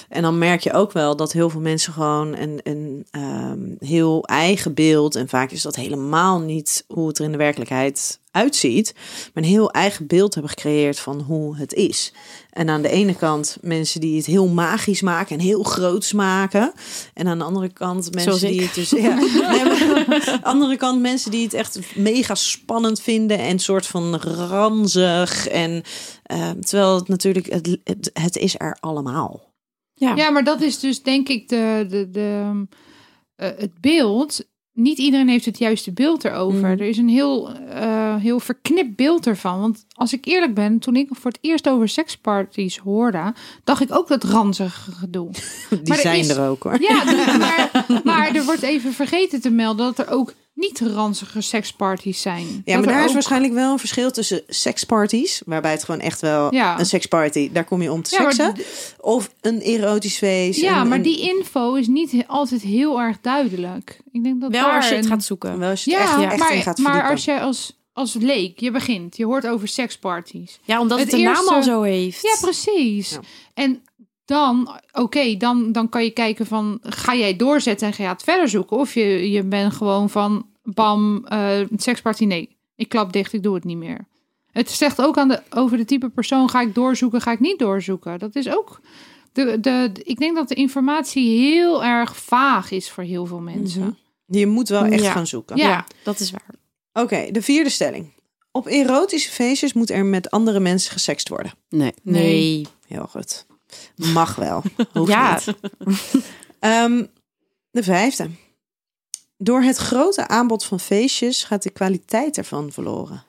[SPEAKER 4] En dan merk je ook wel dat heel veel mensen gewoon een, een ehm, heel eigen beeld en vaak is dat helemaal niet hoe het er in de werkelijkheid uitziet, maar een heel eigen beeld hebben gecreëerd van hoe het is. En aan de ene kant mensen die het heel magisch maken en heel groots maken, en aan de andere kant mensen
[SPEAKER 2] Zoals ik.
[SPEAKER 4] die het dus
[SPEAKER 2] [laughs]
[SPEAKER 4] ja. Nee, maar aan de andere kant mensen die het echt mega spannend vinden en soort van ranzig en eh, terwijl het natuurlijk het, het, het is er allemaal.
[SPEAKER 5] Ja, maar dat is dus denk ik de, de, de, eh, het beeld. Niet iedereen heeft het juiste beeld erover.
[SPEAKER 4] Mhm.
[SPEAKER 5] Er is een heel, eh, heel verknipt beeld ervan. Want als ik eerlijk ben, toen ik voor het eerst over seksparties hoorde, dacht ik ook dat
[SPEAKER 4] [laughs]
[SPEAKER 5] ranzige gedoe.
[SPEAKER 4] Die
[SPEAKER 5] Maar er
[SPEAKER 4] zijn
[SPEAKER 5] is-
[SPEAKER 4] er ook hoor.
[SPEAKER 5] Ja, dus- maar, maar er wordt even vergeten te melden dat er ook niet ranzige seksparties zijn.
[SPEAKER 4] Ja, maar daar is waarschijnlijk wel een verschil tussen seksparties, waarbij het gewoon echt wel
[SPEAKER 5] Ja.
[SPEAKER 4] een seksparty, daar kom je om te
[SPEAKER 5] Ja, maar
[SPEAKER 4] seksen, of een erotisch feest.
[SPEAKER 5] Ja,
[SPEAKER 4] en-
[SPEAKER 5] maar
[SPEAKER 4] en-
[SPEAKER 5] die info is niet he- altijd heel erg duidelijk. Ik denk dat
[SPEAKER 2] Wel
[SPEAKER 5] daar
[SPEAKER 2] als je het
[SPEAKER 5] een-
[SPEAKER 2] gaat zoeken.
[SPEAKER 4] wel als je het echt, echt in gaat
[SPEAKER 5] maar
[SPEAKER 4] verdiepen.
[SPEAKER 5] als jij als als leek. Je begint, je hoort over seksparties.
[SPEAKER 2] Ja, omdat
[SPEAKER 5] Het
[SPEAKER 2] het, de naam
[SPEAKER 5] eerste-
[SPEAKER 2] al zo heeft.
[SPEAKER 5] Ja, precies.
[SPEAKER 1] Ja.
[SPEAKER 5] En dan, oké, dan, dan kan je kijken van, ga jij doorzetten en ga je het verder zoeken? Of je, je bent gewoon van, bam, eh seksparty, nee. Ik klap dicht, ik doe het niet meer. Het zegt ook aan de, over de type persoon, ga ik doorzoeken, ga ik niet doorzoeken? Dat is ook... De, de, ik denk dat de informatie heel erg vaag is voor heel veel mensen.
[SPEAKER 4] Mhm. Je moet wel echt
[SPEAKER 2] Ja.
[SPEAKER 4] gaan zoeken.
[SPEAKER 5] Ja.
[SPEAKER 2] Ja, dat is waar.
[SPEAKER 4] Oké, de vierde stelling. Op erotische feestjes moet er met andere mensen gesext worden.
[SPEAKER 7] Nee.
[SPEAKER 2] Nee.
[SPEAKER 4] Heel goed. Mag
[SPEAKER 5] [laughs]
[SPEAKER 4] wel. Hoeft
[SPEAKER 2] Ja.
[SPEAKER 4] niet. Ehm, de vijfde. Door het grote aanbod van feestjes gaat de kwaliteit ervan verloren.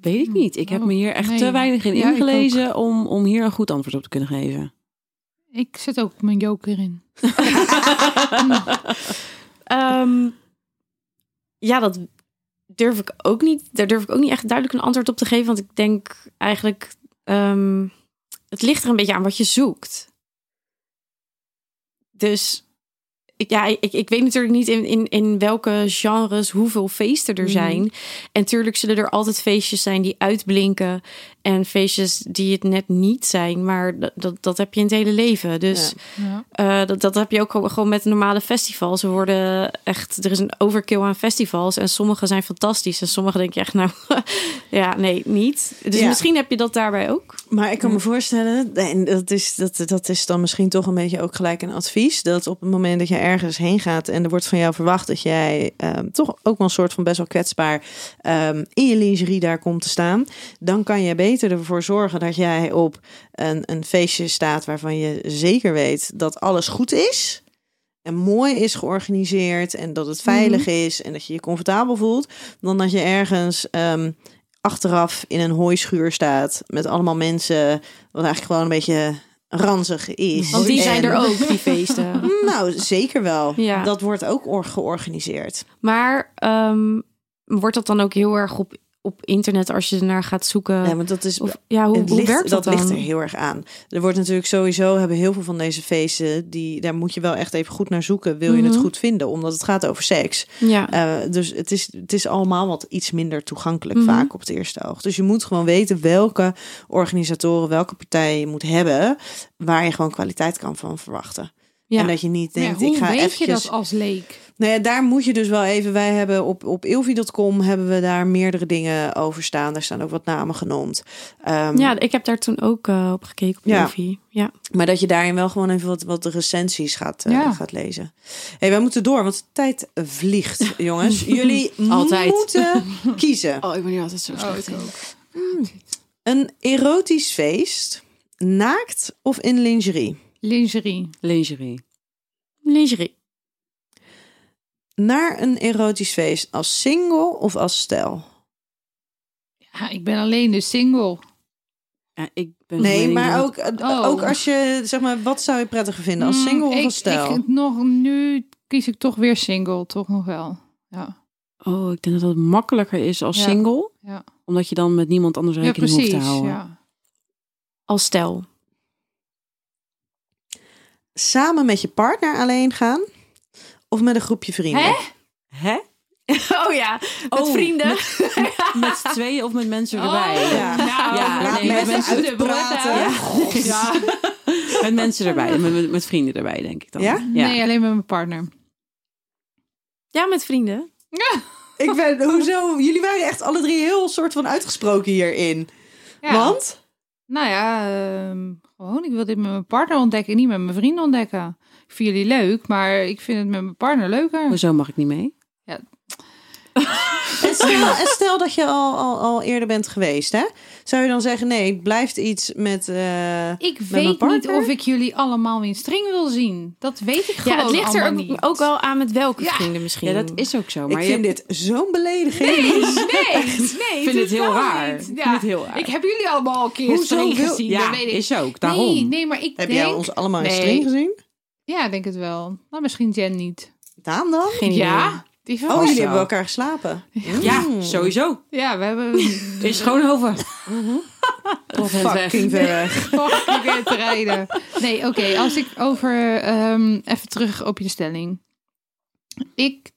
[SPEAKER 7] Weet ik niet. Ik heb me hier echt
[SPEAKER 5] Nee.
[SPEAKER 7] te weinig in
[SPEAKER 5] Ja, ik
[SPEAKER 7] ingelezen om, om hier een goed antwoord op te kunnen geven.
[SPEAKER 5] Ik zet ook mijn
[SPEAKER 4] [laughs]
[SPEAKER 5] joker in.
[SPEAKER 2] Ehm, ja, dat durf ik ook niet. Daar durf ik ook niet echt duidelijk een antwoord op te geven. Want ik denk eigenlijk. ehm, het ligt er een beetje aan wat je zoekt. Dus. Ik, ja, ik, ik weet natuurlijk niet in, in, in welke genres hoeveel feesten er zijn. En tuurlijk zullen er altijd feestjes zijn die uitblinken. En feestjes die het net niet zijn. Maar dat, dat, dat heb je in het hele leven. Dus
[SPEAKER 4] Ja.
[SPEAKER 5] Ja.
[SPEAKER 2] eh, dat, dat heb je ook gewoon gewoon met normale festivals. Ze worden echt, er is een overkill aan festivals. En sommige zijn fantastisch. En sommige denk je echt, nou [laughs] ja, nee, niet. Dus
[SPEAKER 4] Ja.
[SPEAKER 2] misschien heb je dat daarbij ook.
[SPEAKER 4] Maar ik kan me voorstellen, en dat is, dat, dat is dan misschien toch een beetje ook gelijk een advies. Dat op het moment dat je ergens heen gaat en er wordt van jou verwacht dat jij ehm, toch ook wel een soort van best wel kwetsbaar ehm, in je lingerie daar komt te staan. Dan kan je beter ervoor zorgen dat jij op een, een feestje staat waarvan je zeker weet dat alles goed is. En mooi is georganiseerd en dat het veilig is en dat je je comfortabel voelt. Dan dat je ergens ehm, achteraf in een hooischuur staat met allemaal mensen, wat eigenlijk gewoon een beetje ranzig is.
[SPEAKER 2] Want die zijn
[SPEAKER 4] En-
[SPEAKER 2] er ook, die
[SPEAKER 4] [laughs]
[SPEAKER 2] feesten.
[SPEAKER 4] Nou, zeker wel.
[SPEAKER 2] Ja.
[SPEAKER 4] Dat wordt ook or- georganiseerd.
[SPEAKER 2] Maar ehm, wordt dat dan ook heel erg op, op internet als je ernaar gaat zoeken?
[SPEAKER 4] Ja, want dat is
[SPEAKER 2] Of, ja, hoe,
[SPEAKER 4] het
[SPEAKER 2] hoe
[SPEAKER 4] ligt-
[SPEAKER 2] werkt dat, dan?
[SPEAKER 4] ligt er heel erg aan. Er wordt natuurlijk sowieso, hebben heel veel van deze feesten, die, daar moet je wel echt even goed naar zoeken. Wil je het
[SPEAKER 2] Mhm.
[SPEAKER 4] goed vinden? Omdat het gaat over seks.
[SPEAKER 2] Ja.
[SPEAKER 4] Eh, dus het is, het is allemaal wat iets minder toegankelijk
[SPEAKER 2] Mhm.
[SPEAKER 4] vaak op het eerste oog. Dus je moet gewoon weten welke organisatoren, welke partijen je moet hebben, waar je gewoon kwaliteit kan van verwachten.
[SPEAKER 2] Ja.
[SPEAKER 4] En dat je niet denkt,
[SPEAKER 5] Maar hoe
[SPEAKER 4] ik ga
[SPEAKER 5] weet
[SPEAKER 4] eventjes...
[SPEAKER 5] je dat als leek?
[SPEAKER 4] Nou ja, daar moet je dus wel even. Wij hebben op, op ilvi.com hebben we daar meerdere dingen over staan. Daar staan ook wat namen genoemd. Ehm,
[SPEAKER 2] ja, ik heb daar toen ook eh, op gekeken op
[SPEAKER 4] Ja.
[SPEAKER 2] ja. Ja.
[SPEAKER 4] Maar dat je daarin wel gewoon even wat, wat recensies gaat, eh,
[SPEAKER 5] Ja.
[SPEAKER 4] gaat lezen. hey, wij moeten door, want de tijd vliegt, jongens. Jullie
[SPEAKER 7] Altijd.
[SPEAKER 4] moeten kiezen.
[SPEAKER 7] Oh, ik ben hier altijd zo slecht in.
[SPEAKER 4] Een erotisch feest, naakt of in lingerie?
[SPEAKER 5] Lingerie.
[SPEAKER 7] Lingerie.
[SPEAKER 2] Lingerie.
[SPEAKER 4] Naar een erotisch feest als single of als stel?
[SPEAKER 5] Ja, ik ben alleen dus single.
[SPEAKER 7] Ja, ik ben van
[SPEAKER 4] Nee,
[SPEAKER 7] mening
[SPEAKER 4] maar
[SPEAKER 7] dat-
[SPEAKER 4] ook, eh,
[SPEAKER 5] Oh.
[SPEAKER 4] ook als je, zeg maar, wat zou je prettiger vinden? Als
[SPEAKER 5] Mm,
[SPEAKER 4] single of
[SPEAKER 5] ik,
[SPEAKER 4] als stel?
[SPEAKER 5] Ik, nog, nu kies ik toch weer single, toch nog wel. Ja,
[SPEAKER 7] Oh, ik denk dat het makkelijker is als
[SPEAKER 5] Ja.
[SPEAKER 7] single.
[SPEAKER 5] Ja.
[SPEAKER 7] Omdat je dan met niemand anders
[SPEAKER 5] ja
[SPEAKER 7] rekening hoeft te
[SPEAKER 5] precies.
[SPEAKER 7] houden.
[SPEAKER 5] Ja.
[SPEAKER 2] Als stel.
[SPEAKER 4] Samen met je partner alleen gaan? Of met een groepje vrienden?
[SPEAKER 2] Hè?
[SPEAKER 7] Hè?
[SPEAKER 2] Oh ja, met
[SPEAKER 7] Oh,
[SPEAKER 2] vrienden.
[SPEAKER 7] Met tweeën of met
[SPEAKER 2] Oh,
[SPEAKER 7] mensen erbij?
[SPEAKER 4] Oh, Ja.
[SPEAKER 2] nou,
[SPEAKER 7] Ja,
[SPEAKER 2] Ah,
[SPEAKER 4] Laat
[SPEAKER 7] nee,
[SPEAKER 4] me
[SPEAKER 7] met
[SPEAKER 4] even
[SPEAKER 7] mensen
[SPEAKER 4] uitpraten.
[SPEAKER 7] Ja.
[SPEAKER 4] Ja.
[SPEAKER 7] Met mensen erbij, met- met, met vrienden erbij, denk ik dan.
[SPEAKER 4] Ja?
[SPEAKER 5] Nee, alleen met mijn partner.
[SPEAKER 2] Ja, met vrienden.
[SPEAKER 4] Ik ben, hoezo? Jullie waren echt alle drie heel soort van uitgesproken hierin.
[SPEAKER 5] Ja.
[SPEAKER 4] Want?
[SPEAKER 5] Nou ja, ehm, gewoon. Ik wil dit met mijn partner ontdekken en niet met mijn vrienden ontdekken. Ik vind jullie leuk, maar ik vind het met mijn partner leuker.
[SPEAKER 7] Hoezo mag ik niet mee?
[SPEAKER 4] En stel, en stel dat je al, al, al eerder bent geweest, hè? Zou je dan zeggen, nee, het blijft iets met... eh,
[SPEAKER 5] Ik
[SPEAKER 4] mijn
[SPEAKER 5] weet niet
[SPEAKER 4] partner?
[SPEAKER 5] of ik jullie allemaal in string wil zien. Dat weet ik
[SPEAKER 2] Ja,
[SPEAKER 5] gewoon
[SPEAKER 2] het ligt er ook,
[SPEAKER 5] allemaal niet.
[SPEAKER 2] ook wel aan met welke
[SPEAKER 5] Ja.
[SPEAKER 2] vrienden misschien.
[SPEAKER 7] Ja, dat is ook zo.
[SPEAKER 4] ik
[SPEAKER 7] Maar
[SPEAKER 4] vind
[SPEAKER 7] je
[SPEAKER 4] dit zo'n belediging.
[SPEAKER 5] Nee, nee.
[SPEAKER 7] vindt het heel
[SPEAKER 5] totaal
[SPEAKER 7] raar.
[SPEAKER 5] niet.
[SPEAKER 7] Ik
[SPEAKER 5] Ja.
[SPEAKER 7] vind het heel raar.
[SPEAKER 5] Ik heb jullie allemaal al een keer in
[SPEAKER 4] Hoezo
[SPEAKER 5] string
[SPEAKER 4] wil-
[SPEAKER 5] gezien.
[SPEAKER 7] ja,
[SPEAKER 5] dat weet ik.
[SPEAKER 7] is ook. Daarom.
[SPEAKER 5] Nee, nee, maar ik
[SPEAKER 4] Heb
[SPEAKER 5] denk...
[SPEAKER 4] jij ons allemaal in
[SPEAKER 5] Nee.
[SPEAKER 4] string gezien?
[SPEAKER 5] Ja, ik denk het wel. Nou, misschien Jen niet.
[SPEAKER 4] Daan dan?
[SPEAKER 2] geen idee.
[SPEAKER 5] Ja? Die
[SPEAKER 4] Oh,
[SPEAKER 5] wel.
[SPEAKER 4] jullie
[SPEAKER 7] zo.
[SPEAKER 4] hebben bij elkaar geslapen.
[SPEAKER 7] Ja, sowieso.
[SPEAKER 5] Ja, we hebben
[SPEAKER 7] Is Schoonhoven. Tot hen weg.
[SPEAKER 4] Fucking ver weg.
[SPEAKER 5] fucking weer te rijden. Nee, oké. als ik over... ehm, even terug op je stelling. Ik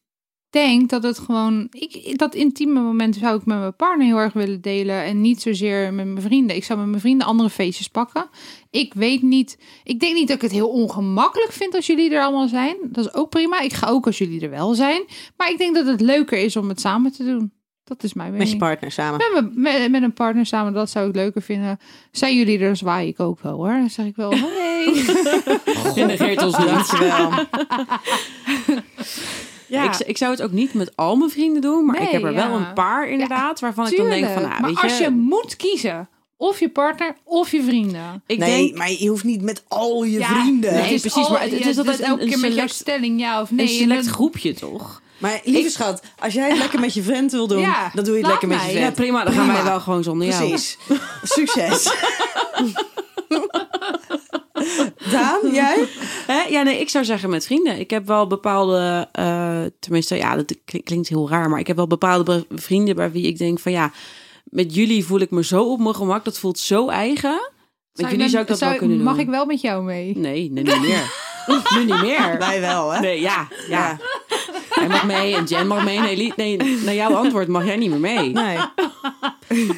[SPEAKER 5] denk dat het gewoon... Ik, dat intieme moment zou ik met mijn partner heel erg willen delen. En niet zozeer met mijn vrienden. Ik zou met mijn vrienden andere feestjes pakken. Ik weet niet... Ik denk niet dat ik het heel ongemakkelijk vind als jullie er allemaal zijn. Dat is ook prima. Ik ga ook als jullie er wel zijn. Maar ik denk dat het leuker is om het samen te doen. Dat is mijn mening.
[SPEAKER 4] Met je partner samen.
[SPEAKER 5] Met, mijn- met, met een partner samen, dat zou ik leuker vinden. Zijn jullie er, dan zwaai ik ook wel hoor. Dan zeg ik
[SPEAKER 7] [laughs]
[SPEAKER 5] wel, hey.
[SPEAKER 7] Je negeert
[SPEAKER 4] [laughs] [laughs]
[SPEAKER 7] ons
[SPEAKER 4] Dankjewel.
[SPEAKER 2] Ja.
[SPEAKER 7] Ik, ik zou het ook niet met al mijn vrienden doen, maar ik
[SPEAKER 5] Nee,
[SPEAKER 7] heb er wel
[SPEAKER 5] ja.
[SPEAKER 7] een paar inderdaad, waarvan ik dan denk van,
[SPEAKER 5] Tuurlijk,
[SPEAKER 7] nou,
[SPEAKER 5] maar
[SPEAKER 7] weet
[SPEAKER 5] als je moet kiezen, of je partner of je vrienden.
[SPEAKER 7] ik
[SPEAKER 4] nee,
[SPEAKER 7] denk,
[SPEAKER 4] maar je hoeft niet met al je
[SPEAKER 5] Ja,
[SPEAKER 4] vrienden.
[SPEAKER 7] nee. precies, maar het- het is altijd
[SPEAKER 5] dus elke
[SPEAKER 7] een- een
[SPEAKER 5] keer met jouw
[SPEAKER 7] select-
[SPEAKER 5] stelling ja of
[SPEAKER 7] een
[SPEAKER 5] nee.
[SPEAKER 7] select
[SPEAKER 5] en dan-
[SPEAKER 7] groepje toch?
[SPEAKER 4] Maar lieve schat, als jij het lekker met je vriend wil doen,
[SPEAKER 5] Ja,
[SPEAKER 4] dan doe je het
[SPEAKER 5] laat
[SPEAKER 4] lekker met je
[SPEAKER 5] mij.
[SPEAKER 7] Ja,
[SPEAKER 4] vriend.
[SPEAKER 7] prima, dan gaan
[SPEAKER 4] Prima.
[SPEAKER 7] wij wel gewoon zonder jou.
[SPEAKER 4] Precies. Succes. Daan, jij?
[SPEAKER 7] Hè? Ja, nee, ik zou zeggen met vrienden. Ik heb wel bepaalde, eh, tenminste, ja, dat kli- klinkt heel raar, maar ik heb wel bepaalde be- vrienden bij wie ik denk van ja, met jullie voel ik me zo op mijn gemak, dat voelt zo eigen. Met
[SPEAKER 5] Zou je
[SPEAKER 7] jullie
[SPEAKER 5] dan-
[SPEAKER 7] zou ik dat
[SPEAKER 5] zou-
[SPEAKER 7] wel kunnen doen.
[SPEAKER 5] Mag ik wel met jou mee?
[SPEAKER 7] Nee, nee, niet meer.
[SPEAKER 5] [laughs]
[SPEAKER 7] nu niet meer.
[SPEAKER 4] Wij wel, hè?
[SPEAKER 7] Nee, ja, ja.
[SPEAKER 4] Ja.
[SPEAKER 7] Hij mag mee en Jen mag mee. Nee, Liet, nee, naar jouw antwoord mag jij niet meer mee.
[SPEAKER 4] Nee.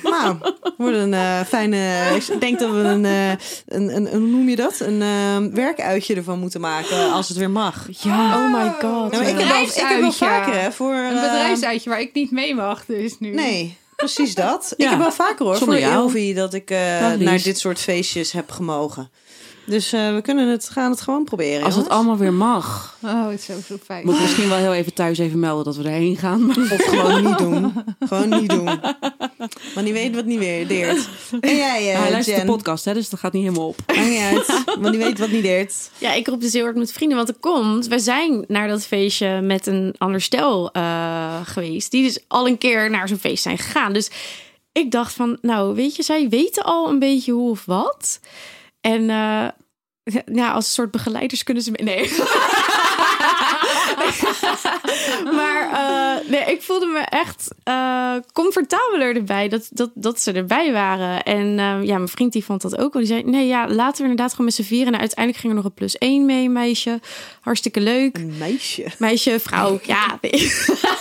[SPEAKER 4] nou, wordt een eh, fijne. Ik denk dat we een, eh, een, een, een- hoe noem je dat? Een eh, werkuitje ervan moeten maken als het weer mag.
[SPEAKER 7] Ja.
[SPEAKER 2] Oh my god.
[SPEAKER 4] Nou, maar ik, heb wel, ik heb wel
[SPEAKER 5] bedrijfsuitje.
[SPEAKER 4] vaker hè, voor.
[SPEAKER 5] Een
[SPEAKER 4] eh,
[SPEAKER 5] bedrijfsuitje waar ik niet mee mag dus nu.
[SPEAKER 4] nee, precies dat.
[SPEAKER 7] Ja.
[SPEAKER 4] Ik heb wel vaker hoor
[SPEAKER 7] Zonder
[SPEAKER 4] voor
[SPEAKER 7] jou.
[SPEAKER 4] Ilvi dat ik eh,
[SPEAKER 7] Dag, Lies.
[SPEAKER 4] naar dit soort feestjes heb gemogen. Dus eh, we kunnen het, gaan het gewoon proberen.
[SPEAKER 7] Als het
[SPEAKER 4] jongens.
[SPEAKER 7] allemaal weer mag,
[SPEAKER 5] Oh, het is zo, zo fijn.
[SPEAKER 7] moet ik misschien wel heel even thuis even melden dat we erheen gaan. Maar
[SPEAKER 4] Of gewoon niet doen. Gewoon niet doen. Want die weet wat niet weer deert. En jij, eh,
[SPEAKER 7] hij luistert
[SPEAKER 4] Jen.
[SPEAKER 7] de podcast, hè, dus dat gaat niet helemaal op.
[SPEAKER 4] Maakt niet uit. Want die weet wat niet deert.
[SPEAKER 2] Ja, ik roep dus heel hard met vrienden. Want er komt, we zijn naar dat feestje met een ander stel eh, geweest. Die dus al een keer naar zo'n feest zijn gegaan. Dus ik dacht van, nou weet je, zij weten al een beetje hoe of wat. En eh, ja, als een soort begeleiders kunnen ze mee. Nee. [laughs] maar eh, nee, ik voelde me echt eh, comfortabeler erbij dat, dat, dat ze erbij waren. En eh, ja, mijn vriend die vond dat ook wel. Die zei, nee ja, laten we inderdaad gewoon met z'n vieren. En uiteindelijk ging er nog een plus één mee, meisje. Hartstikke leuk.
[SPEAKER 4] Een meisje.
[SPEAKER 2] Meisje, vrouw, ja. [laughs] nee.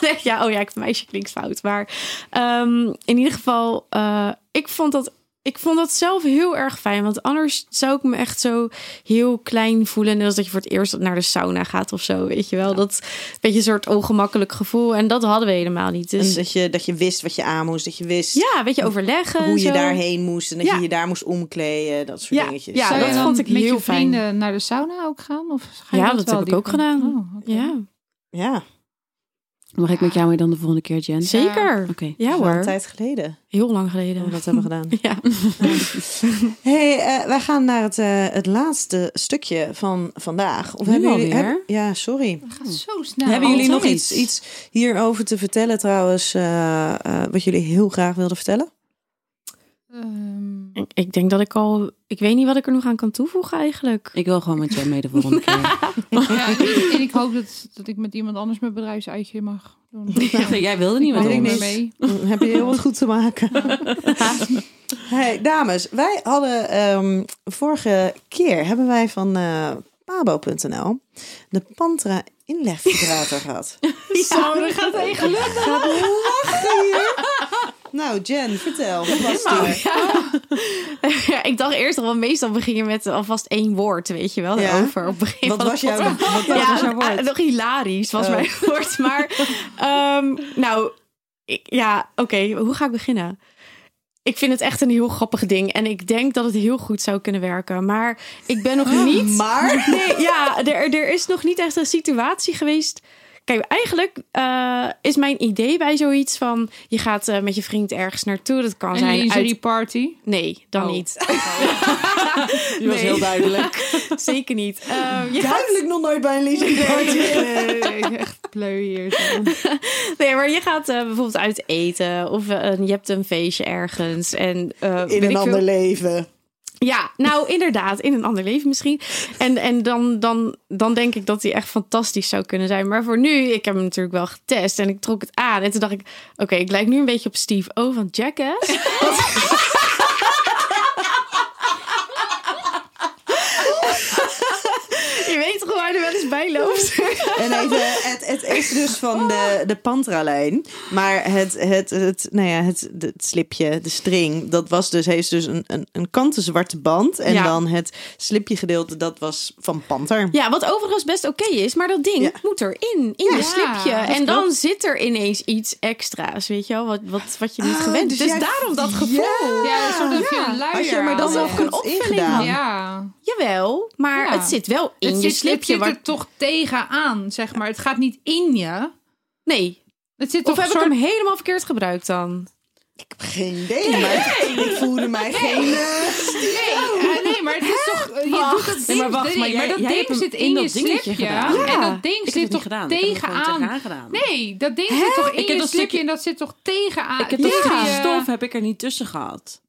[SPEAKER 2] Nee, ja, oh ja, ik- meisje klinkt fout. Maar ehm, in ieder geval, eh, ik, vond dat, ik vond dat zelf heel erg fijn. Want anders zou ik me echt zo heel klein voelen. Net als dat je voor het eerst naar de sauna gaat of zo, weet je wel. Dat beetje een soort ongemakkelijk gevoel. En dat hadden we helemaal niet.
[SPEAKER 4] En
[SPEAKER 2] Dus
[SPEAKER 4] dat je, dat je wist wat je aan moest. Dat je wist
[SPEAKER 2] ja, een beetje overleggen. en
[SPEAKER 4] hoe je
[SPEAKER 2] zo.
[SPEAKER 4] daarheen moest. En dat
[SPEAKER 2] Ja.
[SPEAKER 4] je je daar moest omkleden. Dat soort
[SPEAKER 2] Ja,
[SPEAKER 4] dingetjes.
[SPEAKER 2] ja,
[SPEAKER 5] Zou
[SPEAKER 2] dat
[SPEAKER 5] je dan
[SPEAKER 2] vond ik
[SPEAKER 5] met
[SPEAKER 2] heel
[SPEAKER 5] je
[SPEAKER 2] fijn.
[SPEAKER 5] vrienden naar de sauna ook gaan? Of ga je
[SPEAKER 2] Ja,
[SPEAKER 5] dat,
[SPEAKER 2] dat
[SPEAKER 5] wel
[SPEAKER 2] heb ik
[SPEAKER 5] die
[SPEAKER 2] ook
[SPEAKER 5] kant op?
[SPEAKER 2] gedaan.
[SPEAKER 5] Oh, oké.
[SPEAKER 2] Ja,
[SPEAKER 4] ja.
[SPEAKER 7] Mag ik met jou mee dan de volgende keer, Jen?
[SPEAKER 2] zeker.
[SPEAKER 7] Oké.
[SPEAKER 2] Ja
[SPEAKER 4] Wel een
[SPEAKER 2] hoor,
[SPEAKER 4] tijd geleden
[SPEAKER 2] heel lang
[SPEAKER 4] dat
[SPEAKER 2] geleden. [laughs]
[SPEAKER 4] we dat hebben gedaan.
[SPEAKER 2] Ja.
[SPEAKER 4] hey, eh, wij gaan naar het, eh, het laatste stukje van vandaag. Of
[SPEAKER 7] Nu
[SPEAKER 4] hebben jullie,
[SPEAKER 7] alweer?
[SPEAKER 4] heb- ja, sorry.
[SPEAKER 5] Het gaat zo snel.
[SPEAKER 4] Hebben jullie nog
[SPEAKER 7] Altijd.
[SPEAKER 4] iets, iets hierover te vertellen trouwens? eh, eh, wat jullie heel graag wilden vertellen?
[SPEAKER 5] Ehm,
[SPEAKER 2] Ik- Ik denk dat ik al. Ik weet niet wat ik er nog aan kan
[SPEAKER 4] [laughs]
[SPEAKER 2] toevoegen eigenlijk.
[SPEAKER 7] Ik wil gewoon met Jen mee de volgende keer. [laughs]
[SPEAKER 5] ja, en, ik, en ik hoop dat, dat ik met iemand anders mijn bedrijfsuitje mag
[SPEAKER 7] [laughs]
[SPEAKER 5] doen.
[SPEAKER 7] Nee, eh, jij wilde niet met
[SPEAKER 4] Weet
[SPEAKER 5] Doe
[SPEAKER 4] ik
[SPEAKER 7] ons.
[SPEAKER 5] maar
[SPEAKER 4] niet.
[SPEAKER 5] mee.
[SPEAKER 4] Dan Mm, heb je heel wat goed te
[SPEAKER 2] [laughs]
[SPEAKER 4] maken. hey, dames, wij hadden ehm, vorige keer hebben wij van eh, pabo.nl de Pantra inlegvibrator
[SPEAKER 2] [laughs]
[SPEAKER 4] gehad.
[SPEAKER 2] Zo, dat gaat echt [laughs] gelukkig.
[SPEAKER 4] Gaat lachen hier. Nou, Jen, vertel. Wat was het hier?
[SPEAKER 2] Ja, ik dacht eerst al, want meestal begin je met alvast één woord, weet je wel,
[SPEAKER 4] Ja.
[SPEAKER 2] daarover. Op het begin
[SPEAKER 4] Wat
[SPEAKER 2] van de
[SPEAKER 4] was jouw wat, wat
[SPEAKER 2] ja,
[SPEAKER 4] was jouw
[SPEAKER 2] eh,
[SPEAKER 4] woord?
[SPEAKER 2] nog hilarisch was
[SPEAKER 4] Oh.
[SPEAKER 2] mijn [laughs] woord. Maar ehm, nou, ik, ja, oké, hoe ga ik beginnen? Ik vind het echt een heel grappig ding. En ik denk dat het heel goed zou kunnen werken. Maar ik ben
[SPEAKER 4] [gasps]
[SPEAKER 2] nog niet...
[SPEAKER 4] Maar?
[SPEAKER 2] Nee, ja, er, er is nog niet echt een situatie geweest... Kijk, eigenlijk eh, is mijn idee bij zoiets van... Je gaat eh, met je vriend ergens naartoe. Dat kan
[SPEAKER 5] Een
[SPEAKER 2] zijn
[SPEAKER 5] lingerie
[SPEAKER 2] uit...
[SPEAKER 5] party.
[SPEAKER 2] Nee, dan
[SPEAKER 5] Oh.
[SPEAKER 2] [laughs] niet.
[SPEAKER 7] Die was
[SPEAKER 2] Nee.
[SPEAKER 7] heel duidelijk.
[SPEAKER 2] Zeker niet.
[SPEAKER 7] [laughs]
[SPEAKER 2] Ehm, je gaat-
[SPEAKER 4] Duidelijk nog nooit bij een leasing party.
[SPEAKER 5] echt pleu hier. zo.
[SPEAKER 2] Nee, maar je gaat eh, bijvoorbeeld uit eten of eh, je hebt een feestje ergens en eh, weet
[SPEAKER 4] In
[SPEAKER 2] ik
[SPEAKER 4] een
[SPEAKER 2] veel.
[SPEAKER 4] ander leven.
[SPEAKER 2] Ja, nou inderdaad, in een ander leven misschien. En, en dan, dan, dan denk ik dat die echt fantastisch zou kunnen zijn. Maar voor nu, ik heb hem natuurlijk wel getest en ik trok het aan. En toen dacht ik, oké, ik lijk nu een beetje op Steve O van [laughs] Jackass. Je weet toch waar hij er wel eens bij voorbij loopt.
[SPEAKER 4] En even, [laughs] het, het is dus van de, de Pantra-lijn. Maar het, het, het, nou ja, het, het slipje, de string, dat was dus, heeft dus een, een, een kanten zwarte band. En
[SPEAKER 5] Ja.
[SPEAKER 4] dan het slipje gedeelte, dat was van Panter.
[SPEAKER 2] Ja, wat overigens best oké is, maar dat ding
[SPEAKER 4] Ja.
[SPEAKER 2] moet erin, in
[SPEAKER 5] Ja,
[SPEAKER 2] je slipje.
[SPEAKER 5] dat
[SPEAKER 2] En dan zit er ineens iets extra's, weet je wel, wat, wat, wat je niet gewend
[SPEAKER 4] dus
[SPEAKER 2] bent. Dus,
[SPEAKER 4] jij-
[SPEAKER 2] daarom dat gevoel.
[SPEAKER 5] Ja, een soort van veel luier.
[SPEAKER 4] Had je er maar dan
[SPEAKER 5] aan.
[SPEAKER 4] wel
[SPEAKER 2] ook een
[SPEAKER 4] goed
[SPEAKER 2] opvulling
[SPEAKER 4] ingedaan.
[SPEAKER 5] Ja.
[SPEAKER 2] Jawel, maar
[SPEAKER 5] Ja.
[SPEAKER 2] het zit wel in je
[SPEAKER 5] het zit, het
[SPEAKER 2] slipje.
[SPEAKER 5] zit
[SPEAKER 2] Waar...
[SPEAKER 5] er toch tegenaan, zeg maar. Het gaat niet in je.
[SPEAKER 2] Nee,
[SPEAKER 5] Het zit
[SPEAKER 2] of
[SPEAKER 5] toch
[SPEAKER 2] heb
[SPEAKER 5] soort...
[SPEAKER 2] ik hem helemaal verkeerd gebruikt dan?
[SPEAKER 4] Ik heb geen idee, maar ik voelde mij geen... eh,
[SPEAKER 5] Nee, eh, nee, maar het is toch... eh, Je doet dat ding,
[SPEAKER 7] Nee, maar wacht,
[SPEAKER 5] nee,
[SPEAKER 7] maar jij-
[SPEAKER 5] dat
[SPEAKER 7] jij
[SPEAKER 5] ding
[SPEAKER 7] hebt hem
[SPEAKER 5] zit
[SPEAKER 7] in
[SPEAKER 5] in, je
[SPEAKER 7] dat dingetje
[SPEAKER 5] slipje.
[SPEAKER 7] gedaan.
[SPEAKER 5] En
[SPEAKER 2] Ja,
[SPEAKER 5] dat ding
[SPEAKER 7] Ik
[SPEAKER 5] zit
[SPEAKER 7] heb het
[SPEAKER 5] toch
[SPEAKER 7] niet gedaan. Ik heb het gewoon
[SPEAKER 5] tegenaan.
[SPEAKER 7] tegenaan gedaan.
[SPEAKER 5] Nee, dat ding zit toch in
[SPEAKER 7] Ik heb
[SPEAKER 5] je slipje
[SPEAKER 7] dat stukje-
[SPEAKER 5] en dat zit toch tegenaan.
[SPEAKER 7] Ik heb dat
[SPEAKER 5] Ja.
[SPEAKER 7] stukje
[SPEAKER 5] Eh,
[SPEAKER 7] stof heb ik er niet tussen gehad.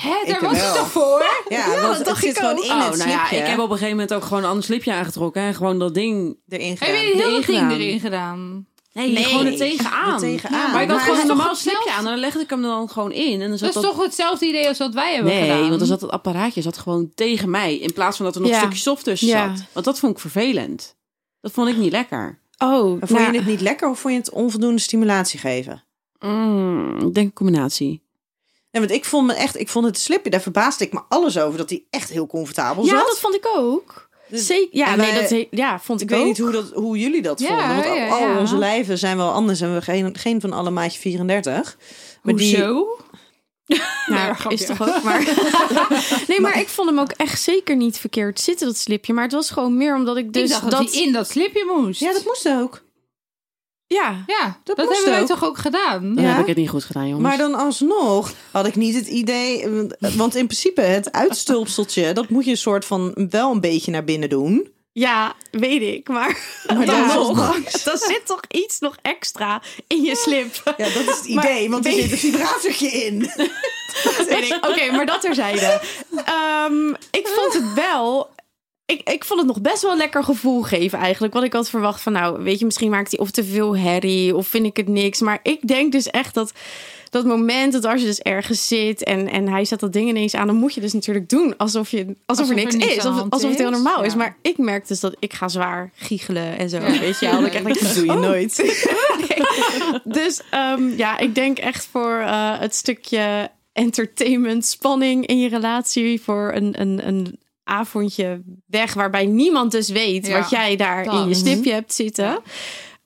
[SPEAKER 5] Hè,
[SPEAKER 4] Ik
[SPEAKER 5] daar was
[SPEAKER 4] wel.
[SPEAKER 5] het toch voor?
[SPEAKER 4] Ja, want het zit gewoon in
[SPEAKER 5] Oh, nou
[SPEAKER 4] het slipje
[SPEAKER 7] Oh, nou ik heb op een gegeven moment ook gewoon een ander slipje aangetrokken en gewoon dat ding.
[SPEAKER 4] erin
[SPEAKER 5] Heb
[SPEAKER 4] gedaan.
[SPEAKER 5] je heel dat ding
[SPEAKER 7] Ingedaan.
[SPEAKER 5] erin gedaan?
[SPEAKER 7] Nee, gewoon er tegenaan.
[SPEAKER 4] Er tegenaan.
[SPEAKER 7] Maar ik had
[SPEAKER 4] Maar het
[SPEAKER 7] gewoon een
[SPEAKER 4] is toch
[SPEAKER 7] normaal
[SPEAKER 5] goed
[SPEAKER 7] slipje
[SPEAKER 5] zelf?
[SPEAKER 7] aan en dan legde ik hem er dan gewoon in. En dan
[SPEAKER 5] Dat
[SPEAKER 7] zat
[SPEAKER 5] is toch hetzelfde idee als wat wij hebben
[SPEAKER 7] Nee,
[SPEAKER 5] gedaan?
[SPEAKER 7] want dan zat dat apparaatje zat gewoon tegen mij. In plaats van dat er nog
[SPEAKER 2] Ja.
[SPEAKER 7] een stukje soft tussen
[SPEAKER 2] Ja.
[SPEAKER 7] zat. Want dat vond ik vervelend. Dat vond ik niet lekker.
[SPEAKER 2] Oh,
[SPEAKER 4] Maar Vond
[SPEAKER 2] nou,
[SPEAKER 4] je het niet lekker of vond je het onvoldoende stimulatie geven?
[SPEAKER 7] Mm, ik denk een combinatie.
[SPEAKER 4] Nee, want ik vond, me echt, ik vond het slipje, daar verbaasde ik me alles over, dat die echt heel comfortabel
[SPEAKER 2] Ja,
[SPEAKER 4] zat.
[SPEAKER 2] dat vond ik ook.
[SPEAKER 4] Dus-
[SPEAKER 2] Zeker. Ja,
[SPEAKER 4] en
[SPEAKER 2] nee,
[SPEAKER 4] wij-
[SPEAKER 2] dat he- ja, vond
[SPEAKER 4] ik
[SPEAKER 2] eh, ik,
[SPEAKER 4] weet
[SPEAKER 2] ook.
[SPEAKER 4] niet hoe, dat, hoe jullie dat
[SPEAKER 5] Ja,
[SPEAKER 4] vonden, want al,
[SPEAKER 5] ja,
[SPEAKER 4] al
[SPEAKER 5] ja.
[SPEAKER 4] onze lijven zijn wel anders en we geen, geen van alle maatje 34. Maar die,
[SPEAKER 2] [laughs]
[SPEAKER 5] Hoezo?
[SPEAKER 2] Nou,
[SPEAKER 5] grapje.
[SPEAKER 2] is toch ook [laughs] maar. nee, maar ik vond hem ook echt zeker niet verkeerd zitten, dat slipje. Maar het was gewoon meer omdat ik dus
[SPEAKER 5] ik dacht dat, die in dat slipje moest.
[SPEAKER 4] ja, dat moest ook.
[SPEAKER 2] Ja,
[SPEAKER 5] Ja, dat,
[SPEAKER 4] moest
[SPEAKER 5] hebben wij
[SPEAKER 4] ook.
[SPEAKER 5] toch ook gedaan?
[SPEAKER 7] Dan
[SPEAKER 4] Ja.
[SPEAKER 7] heb ik het niet goed gedaan, jongens.
[SPEAKER 4] Maar dan alsnog had ik niet het idee, want in principe het uitstulpseltje, dat moet je een soort van wel een beetje naar binnen doen.
[SPEAKER 2] ja, weet ik. Maar,
[SPEAKER 4] Maar
[SPEAKER 2] [laughs] dan
[SPEAKER 4] dat is
[SPEAKER 2] nog,
[SPEAKER 4] ondanks.
[SPEAKER 2] dan zit toch iets nog extra in je slip.
[SPEAKER 4] Ja, dat is het idee, want er
[SPEAKER 2] weet-
[SPEAKER 4] zit een vibratortje in.
[SPEAKER 2] Weet ik. Oké, maar dat terzijde. Ehm, ik vond het wel. Ik, ik vond het nog best wel een lekker gevoel geven eigenlijk. Wat ik had verwacht van nou, weet je, misschien maakt hij of te veel herrie of vind ik het niks. Maar ik denk dus echt dat dat moment dat als je dus ergens zit en, en hij zet dat ding ineens aan, dan moet je dus natuurlijk doen alsof, je, alsof, er
[SPEAKER 5] Alsof er
[SPEAKER 2] niks
[SPEAKER 5] niks
[SPEAKER 2] is.
[SPEAKER 5] aan de
[SPEAKER 2] Alsof,
[SPEAKER 5] hand
[SPEAKER 2] alsof het heel
[SPEAKER 5] is.
[SPEAKER 2] normaal is.
[SPEAKER 5] Ja.
[SPEAKER 2] Maar ik merk dus dat ik ga zwaar giechelen en zo.
[SPEAKER 5] Ja.
[SPEAKER 2] Weet je, wel. dat ik
[SPEAKER 4] [laughs] Dat
[SPEAKER 2] echt denk, oh.
[SPEAKER 4] doe je nooit.
[SPEAKER 2] dus ehm, ja, ik denk echt voor eh, het stukje entertainment, spanning in je relatie. Voor een, een, een avondje weg waarbij niemand dus weet
[SPEAKER 5] Ja,
[SPEAKER 2] wat jij daar
[SPEAKER 5] dat.
[SPEAKER 2] in je stipje hebt zitten.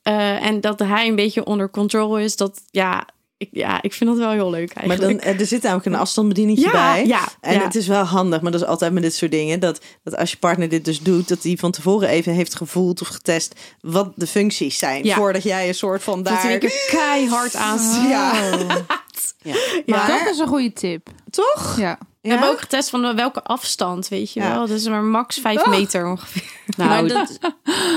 [SPEAKER 2] Eh, en dat hij een beetje onder controle is. Dat ja, ik, ja, ik vind dat wel heel leuk
[SPEAKER 4] Maar
[SPEAKER 2] eigenlijk.
[SPEAKER 4] dan, eh, er zit namelijk een afstandsbedieningje
[SPEAKER 2] Ja,
[SPEAKER 4] bij.
[SPEAKER 2] ja,
[SPEAKER 4] en
[SPEAKER 2] ja.
[SPEAKER 4] het is wel handig, maar dat is altijd met dit soort dingen. Dat, dat als je partner dit dus doet, dat hij van tevoren even heeft gevoeld of getest wat de functies zijn.
[SPEAKER 2] Ja.
[SPEAKER 4] Voordat jij een soort van
[SPEAKER 2] dat hij
[SPEAKER 4] daar.
[SPEAKER 2] een keer keihard aan
[SPEAKER 4] [laughs] Ja,
[SPEAKER 2] Maar-
[SPEAKER 5] Dat is een goede tip.
[SPEAKER 4] toch?
[SPEAKER 5] Ja.
[SPEAKER 2] We hebben ook getest van welke afstand, weet je
[SPEAKER 4] Ja.
[SPEAKER 2] wel. Dus maar max vijf meter ongeveer.
[SPEAKER 7] Nou,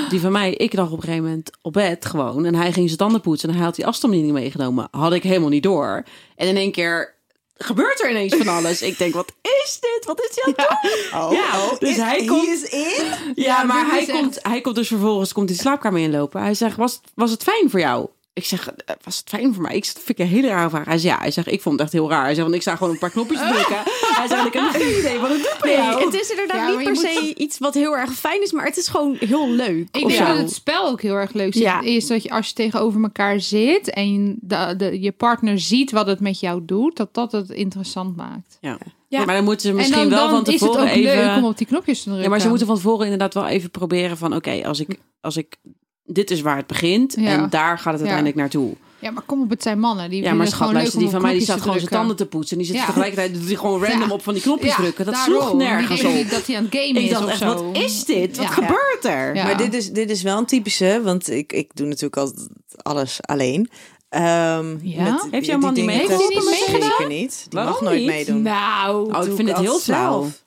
[SPEAKER 7] die van mij, ik lag op een gegeven moment op bed gewoon. En hij ging zijn tanden poetsen en hij had die afstandsbediening meegenomen. Had ik helemaal niet door. En in één keer gebeurt er ineens van alles. ik denk, wat is dit? Wat is dit? Ja,
[SPEAKER 4] Oh,
[SPEAKER 7] Ja,
[SPEAKER 4] oh,
[SPEAKER 7] dus
[SPEAKER 4] is-
[SPEAKER 7] hij
[SPEAKER 4] he
[SPEAKER 7] komt-
[SPEAKER 4] is in.
[SPEAKER 7] ja maar
[SPEAKER 5] dit
[SPEAKER 7] hij
[SPEAKER 5] is echt-
[SPEAKER 7] komt, hij komt dus vervolgens komt die slaapkamer inlopen. Hij zegt, was, was het fijn voor jou? Ik zeg, "Eh, was het fijn voor mij? Ik zeg, dat vind ik een hele rare vraag. Hij zegt, ja. Hij zegt, ik vond het echt heel raar. Hij zegt, want ik sta gewoon een paar
[SPEAKER 5] [laughs]
[SPEAKER 7] knopjes te drukken. Hij zegt, ik heb geen idee wat het doet bij
[SPEAKER 2] Nee,
[SPEAKER 7] jou.
[SPEAKER 2] het is inderdaad
[SPEAKER 5] Ja,
[SPEAKER 2] niet
[SPEAKER 5] maar je
[SPEAKER 2] per
[SPEAKER 5] moet-
[SPEAKER 2] se iets wat heel erg fijn is, maar het is gewoon heel leuk.
[SPEAKER 5] Ik
[SPEAKER 2] of
[SPEAKER 5] denk
[SPEAKER 2] zo.
[SPEAKER 5] dat het spel ook heel erg leuk zit.
[SPEAKER 2] Ja.
[SPEAKER 5] Is dat je als je tegenover elkaar zit en de, de- je partner ziet wat het met jou doet, dat dat het interessant maakt.
[SPEAKER 7] Ja.
[SPEAKER 2] Ja.
[SPEAKER 7] Maar dan moeten ze
[SPEAKER 5] En
[SPEAKER 7] misschien
[SPEAKER 5] dan,
[SPEAKER 7] wel
[SPEAKER 5] dan
[SPEAKER 7] van
[SPEAKER 5] is het
[SPEAKER 7] tevoren
[SPEAKER 5] ook
[SPEAKER 7] even...
[SPEAKER 5] leuk om op die knopjes te drukken.
[SPEAKER 7] Ja, maar ze moeten van tevoren inderdaad wel even proberen van... oké, als, ik, als ik... Dit is waar het begint
[SPEAKER 5] Ja.
[SPEAKER 7] en daar gaat het
[SPEAKER 5] Ja.
[SPEAKER 7] uiteindelijk naartoe.
[SPEAKER 5] Ja, maar kom op, het zijn mannen. Die
[SPEAKER 7] Ja,
[SPEAKER 5] vinden
[SPEAKER 7] maar
[SPEAKER 5] het
[SPEAKER 7] schat,
[SPEAKER 5] gewoon
[SPEAKER 7] luister,
[SPEAKER 5] leuk om
[SPEAKER 7] die
[SPEAKER 5] op
[SPEAKER 7] van mij
[SPEAKER 5] knopjes
[SPEAKER 7] die staat gewoon
[SPEAKER 5] te
[SPEAKER 7] zijn
[SPEAKER 5] drukken.
[SPEAKER 7] tanden te poetsen... en die zit
[SPEAKER 5] Ja.
[SPEAKER 7] tegelijkertijd doet hij gewoon random
[SPEAKER 5] Ja.
[SPEAKER 7] op van die knopjes
[SPEAKER 5] Ja,
[SPEAKER 7] drukken. Dat
[SPEAKER 5] daarom.
[SPEAKER 7] sloeg nergens
[SPEAKER 5] Die denken
[SPEAKER 7] op.
[SPEAKER 5] dat hij aan het gamen
[SPEAKER 7] Ik
[SPEAKER 5] is
[SPEAKER 7] dacht
[SPEAKER 5] of
[SPEAKER 7] echt,
[SPEAKER 5] zo.
[SPEAKER 7] wat is dit? Wat
[SPEAKER 5] Ja.
[SPEAKER 7] gebeurt er?
[SPEAKER 5] Ja.
[SPEAKER 7] Ja.
[SPEAKER 4] Maar dit is, dit is wel een typische, want ik, ik doe natuurlijk altijd alles alleen. Ehm,
[SPEAKER 5] Ja?
[SPEAKER 4] met
[SPEAKER 7] Heeft
[SPEAKER 4] die
[SPEAKER 7] jouw man niet
[SPEAKER 4] dingen
[SPEAKER 7] meegeholpen
[SPEAKER 4] testen
[SPEAKER 5] met
[SPEAKER 4] Zeker
[SPEAKER 5] zingen?
[SPEAKER 4] niet. Die
[SPEAKER 7] Waarom
[SPEAKER 4] mag nooit
[SPEAKER 7] niet?
[SPEAKER 4] meedoen.
[SPEAKER 2] Nou,
[SPEAKER 7] Oh, ik
[SPEAKER 4] Doe
[SPEAKER 7] vind het heel
[SPEAKER 4] altijd
[SPEAKER 7] flauw.
[SPEAKER 4] zelf.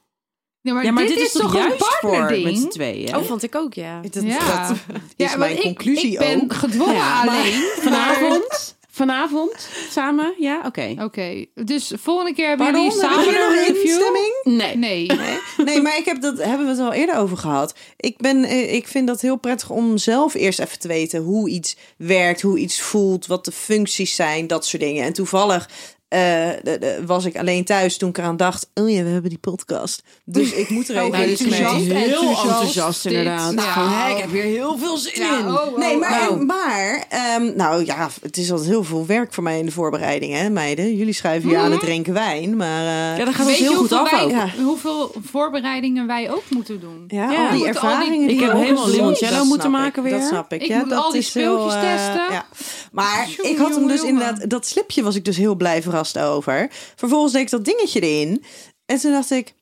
[SPEAKER 5] Ja, maar,
[SPEAKER 7] Ja,
[SPEAKER 5] dit, is, toch een
[SPEAKER 7] juist voor met z'n
[SPEAKER 5] partnerding?
[SPEAKER 7] tweeën?
[SPEAKER 2] oh, vond ik ook, ja.
[SPEAKER 4] Dat,
[SPEAKER 5] Ja.
[SPEAKER 4] dat is
[SPEAKER 5] want
[SPEAKER 4] mijn
[SPEAKER 5] ik,
[SPEAKER 4] conclusie
[SPEAKER 5] ik ben
[SPEAKER 4] ook.
[SPEAKER 5] gedwongen
[SPEAKER 7] Ja, maar-
[SPEAKER 5] alleen.
[SPEAKER 7] Vanavond? Vanavond? Samen? Ja, oké.
[SPEAKER 5] Oké, dus volgende keer hebben
[SPEAKER 7] Pardon,
[SPEAKER 5] jullie
[SPEAKER 7] hebben
[SPEAKER 4] Heb
[SPEAKER 5] samen
[SPEAKER 4] je nog
[SPEAKER 5] een review.
[SPEAKER 4] instemming?
[SPEAKER 7] Nee.
[SPEAKER 5] Nee.
[SPEAKER 4] Nee, maar ik heb dat hebben we het al eerder over gehad. Ik, ben, eh, ik vind dat heel prettig om zelf eerst even te weten hoe iets werkt, hoe iets voelt, wat de functies zijn, dat soort dingen. En toevallig eh, eh, de- de- was ik alleen thuis toen ik eraan dacht, oh ja, we hebben die podcast. Dus ik moet
[SPEAKER 5] Oh,
[SPEAKER 4] er even
[SPEAKER 7] Nou,
[SPEAKER 4] iets
[SPEAKER 7] dit is
[SPEAKER 4] mee.
[SPEAKER 5] enthousiast,
[SPEAKER 7] heel
[SPEAKER 5] enthousiast
[SPEAKER 7] enthousiast
[SPEAKER 5] dit.
[SPEAKER 7] inderdaad.
[SPEAKER 5] Nou.
[SPEAKER 7] Van, hé, ik heb hier heel veel zin
[SPEAKER 5] Ja,
[SPEAKER 7] in.
[SPEAKER 5] oh, oh,
[SPEAKER 4] Nee, maar,
[SPEAKER 7] oh.
[SPEAKER 4] maar ehm, nou ja, het is altijd heel veel werk voor mij in de voorbereiding, hè, meiden. Jullie schuiven je aan het drinken wijn, maar eh,
[SPEAKER 7] Mhm. Ja, dat gaat
[SPEAKER 5] Weet
[SPEAKER 7] ons
[SPEAKER 5] je
[SPEAKER 7] dus heel goed
[SPEAKER 5] hoeveel
[SPEAKER 7] af
[SPEAKER 5] wij-
[SPEAKER 7] ook.
[SPEAKER 4] Ja.
[SPEAKER 5] Hoeveel voorbereidingen wij ook moeten doen.
[SPEAKER 4] ja,
[SPEAKER 7] Ja.
[SPEAKER 4] al die
[SPEAKER 5] Moet al die-
[SPEAKER 4] ervaringen die
[SPEAKER 7] Ik heb
[SPEAKER 4] je ook
[SPEAKER 7] helemaal
[SPEAKER 4] opdoet,
[SPEAKER 7] limoncello
[SPEAKER 4] dat
[SPEAKER 7] moeten
[SPEAKER 4] snap ik,
[SPEAKER 7] maken weer.
[SPEAKER 4] Dat snap ik.
[SPEAKER 5] Ik
[SPEAKER 4] ja,
[SPEAKER 5] moet
[SPEAKER 4] dat
[SPEAKER 5] al die
[SPEAKER 4] is heel,
[SPEAKER 5] speeltjes
[SPEAKER 4] eh,
[SPEAKER 5] testen.
[SPEAKER 4] ja. Maar
[SPEAKER 5] Jongen,
[SPEAKER 4] ik had hem
[SPEAKER 5] jongen,
[SPEAKER 4] dus
[SPEAKER 5] jongen.
[SPEAKER 4] inderdaad, dat slipje was ik dus heel blij verrast over. Vervolgens deed ik dat dingetje erin. En toen dacht ik,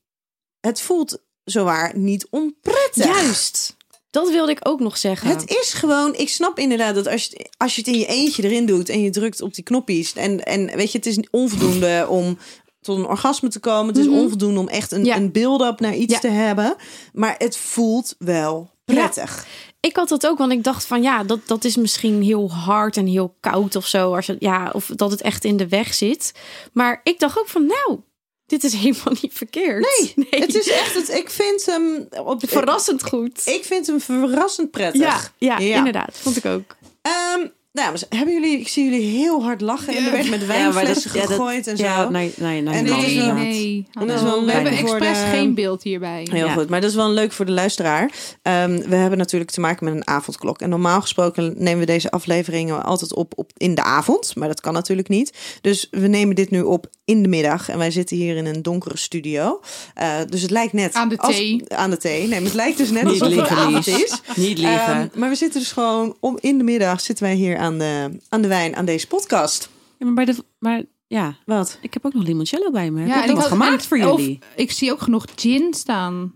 [SPEAKER 4] het voelt zowaar niet onprettig.
[SPEAKER 2] Juist. Dat wilde ik ook nog zeggen.
[SPEAKER 4] Het is gewoon, ik snap inderdaad dat als je, als je het in je eentje erin doet en je drukt op die knopjes. En, en weet je, het is onvoldoende om tot een orgasme te komen. Het is onvoldoende om echt een,
[SPEAKER 2] Mhm. Ja.
[SPEAKER 4] een build-up naar iets
[SPEAKER 2] Ja.
[SPEAKER 4] te hebben. Maar het voelt wel
[SPEAKER 2] [laughs]
[SPEAKER 4] prettig.
[SPEAKER 2] Ik had dat ook, want ik dacht van ja, dat, dat is misschien heel hard en heel koud of zo. Als het, ja, of dat het echt in de weg zit. Maar ik dacht ook van nou, dit is [laughs] helemaal niet verkeerd.
[SPEAKER 4] Nee,
[SPEAKER 2] [laughs]
[SPEAKER 4] het is echt, het, ik vind hem op,
[SPEAKER 2] verrassend goed.
[SPEAKER 4] Ik vind hem verrassend prettig.
[SPEAKER 2] ja, ja, inderdaad. Vond ik ook.
[SPEAKER 4] Ehm, dames, hebben jullie, ik zie jullie heel hard lachen. En er werd met wijnflessen
[SPEAKER 7] ja, dat-
[SPEAKER 4] gegooid en zo.
[SPEAKER 7] Ja, nou, nee, nee, nee.
[SPEAKER 4] En
[SPEAKER 7] nee,
[SPEAKER 4] dit is
[SPEAKER 7] nee.
[SPEAKER 5] Nee,
[SPEAKER 4] inderdaad.
[SPEAKER 5] nee.
[SPEAKER 4] En dat is
[SPEAKER 5] hallo.
[SPEAKER 4] wel
[SPEAKER 5] We
[SPEAKER 4] leuk
[SPEAKER 5] hebben
[SPEAKER 4] voor
[SPEAKER 5] expres
[SPEAKER 4] de-
[SPEAKER 5] geen beeld hierbij.
[SPEAKER 4] Heel
[SPEAKER 7] Ja.
[SPEAKER 4] goed, maar dat is wel leuk voor de luisteraar. Ehm, we hebben natuurlijk te maken met een avondklok. En normaal gesproken nemen we deze afleveringen altijd op, op in de avond. Maar dat kan natuurlijk niet. Dus we nemen dit nu op in de middag. En wij zitten hier in een donkere studio. Eh, dus het lijkt net...
[SPEAKER 5] Aan de
[SPEAKER 4] als-
[SPEAKER 5] thee.
[SPEAKER 4] aan de thee. Nee, maar het lijkt dus net
[SPEAKER 7] Niet
[SPEAKER 4] alsof het
[SPEAKER 7] liegen,
[SPEAKER 4] avond
[SPEAKER 7] Lies.
[SPEAKER 4] is.
[SPEAKER 7] Niet liegen.
[SPEAKER 4] Ehm, maar we zitten dus gewoon om in de middag zitten wij hier aan de, aan de wijn, aan deze podcast.
[SPEAKER 7] Ja, maar, bij de, maar ja,
[SPEAKER 4] Wat?
[SPEAKER 7] ik heb ook nog limoncello bij me. Heb
[SPEAKER 5] en
[SPEAKER 7] ik heb wat
[SPEAKER 5] had-
[SPEAKER 7] gemaakt
[SPEAKER 5] en- oh,
[SPEAKER 7] voor
[SPEAKER 5] of
[SPEAKER 7] jullie.
[SPEAKER 5] ik zie ook genoeg gin staan.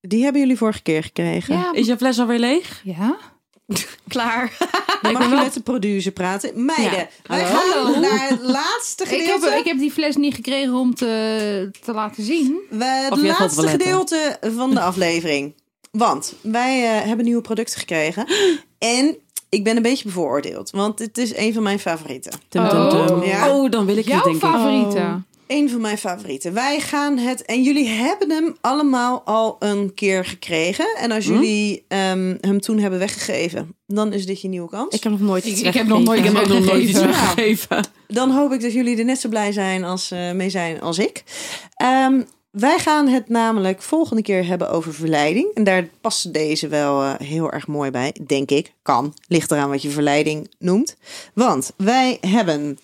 [SPEAKER 4] Die hebben jullie vorige keer gekregen.
[SPEAKER 5] Ja.
[SPEAKER 7] Is je fles alweer leeg?
[SPEAKER 5] ja.
[SPEAKER 2] Klaar.
[SPEAKER 4] Dan mag je met de producer praten. Meiden,
[SPEAKER 7] Ja.
[SPEAKER 4] wij
[SPEAKER 7] Hallo.
[SPEAKER 4] gaan naar het laatste
[SPEAKER 5] Ik
[SPEAKER 4] gedeelte.
[SPEAKER 5] heb, ik heb die fles niet gekregen om te, te laten zien.
[SPEAKER 4] We- het
[SPEAKER 7] Of je gaat
[SPEAKER 4] laatste
[SPEAKER 7] toiletten.
[SPEAKER 4] gedeelte van de aflevering. Want wij eh, hebben nieuwe producten gekregen. En ik ben een beetje bevooroordeeld. Want dit is een van mijn favorieten.
[SPEAKER 7] Tum,
[SPEAKER 5] Oh.
[SPEAKER 7] tum, tum.
[SPEAKER 4] Ja.
[SPEAKER 7] Oh, dan wil ik het
[SPEAKER 5] Jouw
[SPEAKER 7] denk ik.
[SPEAKER 5] favoriete.
[SPEAKER 4] Een van mijn favorieten. Wij gaan het. En jullie hebben hem allemaal al een keer gekregen. En als jullie ehm, hem toen hebben weggegeven, dan is dit je nieuwe kans.
[SPEAKER 2] Ik heb nog nooit
[SPEAKER 5] Ik,
[SPEAKER 2] iets
[SPEAKER 5] ik heb nog nooit
[SPEAKER 7] Ik
[SPEAKER 2] [laughs]
[SPEAKER 7] heb ook nog nooit iets
[SPEAKER 5] weggegeven.
[SPEAKER 7] weggegeven.
[SPEAKER 4] Dan hoop ik dat jullie er net zo blij zijn als, eh, mee zijn als ik. Ehm, wij gaan het namelijk volgende keer hebben over verleiding. En daar past deze wel eh, heel erg mooi bij, denk ik. Kan. Ligt eraan wat je verleiding noemt. Want wij hebben.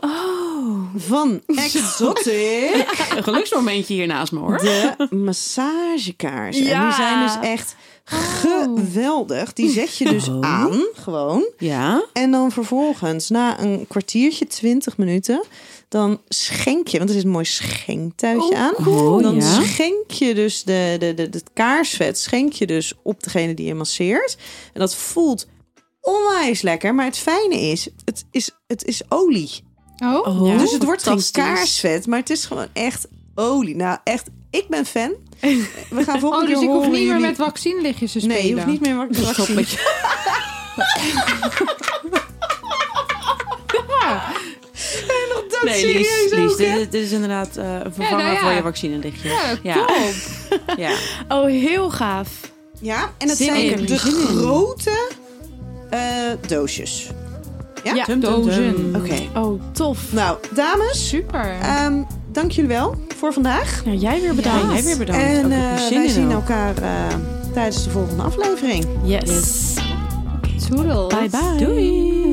[SPEAKER 4] Oh. Van Exotic.
[SPEAKER 7] Een geluksmomentje hier naast me hoor.
[SPEAKER 4] De massagekaars. En die zijn dus echt geweldig. Die zet je dus aan, gewoon.
[SPEAKER 7] Ja.
[SPEAKER 4] En dan vervolgens, na een kwartiertje, 20 minuten, dan schenk je, want er zit een mooi
[SPEAKER 5] Oh,
[SPEAKER 4] schenktuitje aan. Oh,
[SPEAKER 7] cool.
[SPEAKER 4] Dan
[SPEAKER 7] Ja.
[SPEAKER 4] schenk je dus de, de, de, het kaarsvet, schenk je dus op degene die je masseert. En dat voelt onwijs lekker, maar het fijne is, het is, het is olie.
[SPEAKER 5] Oh,
[SPEAKER 7] Oh,
[SPEAKER 4] dus het wordt geen
[SPEAKER 7] fantastisch.
[SPEAKER 4] kaarsvet, maar het is gewoon echt olie. Nou, echt, ik ben
[SPEAKER 5] [laughs]
[SPEAKER 4] fan. We gaan volgende
[SPEAKER 5] oh,
[SPEAKER 4] keer
[SPEAKER 5] dus ik hoef
[SPEAKER 4] horen
[SPEAKER 5] niet meer
[SPEAKER 4] jullie-
[SPEAKER 5] met vaccinlichtjes te spelen.
[SPEAKER 4] Nee, je hoeft niet meer [laughs] wat te zien.
[SPEAKER 7] [laughs] nee, Lies, Lies dit, dit is inderdaad eh, een vervanger
[SPEAKER 5] nou ja.
[SPEAKER 7] voor je vaccinelichtje.
[SPEAKER 5] Ja,
[SPEAKER 7] Ja.
[SPEAKER 5] top.
[SPEAKER 7] ja.
[SPEAKER 2] Oh, heel gaaf.
[SPEAKER 4] Ja, en dat
[SPEAKER 2] Zin
[SPEAKER 4] zijn
[SPEAKER 2] in.
[SPEAKER 4] de
[SPEAKER 2] Zin in.
[SPEAKER 4] grote eh, doosjes. Ja.
[SPEAKER 7] Tum, tum, tum.
[SPEAKER 5] Dozen.
[SPEAKER 4] Oké.
[SPEAKER 2] Oh, tof.
[SPEAKER 4] Nou, dames,
[SPEAKER 5] Super.
[SPEAKER 4] ehm, dank jullie wel voor vandaag.
[SPEAKER 2] Nou, jij weer bedankt.
[SPEAKER 7] Ja, jij weer bedankt.
[SPEAKER 4] en
[SPEAKER 7] Ook
[SPEAKER 4] eh,
[SPEAKER 7] heb je zin
[SPEAKER 4] wij
[SPEAKER 7] in
[SPEAKER 4] zien
[SPEAKER 7] ook.
[SPEAKER 4] elkaar eh, tijdens de volgende aflevering.
[SPEAKER 2] Yes.
[SPEAKER 5] Toedels.
[SPEAKER 2] Bye bye.
[SPEAKER 7] Doei.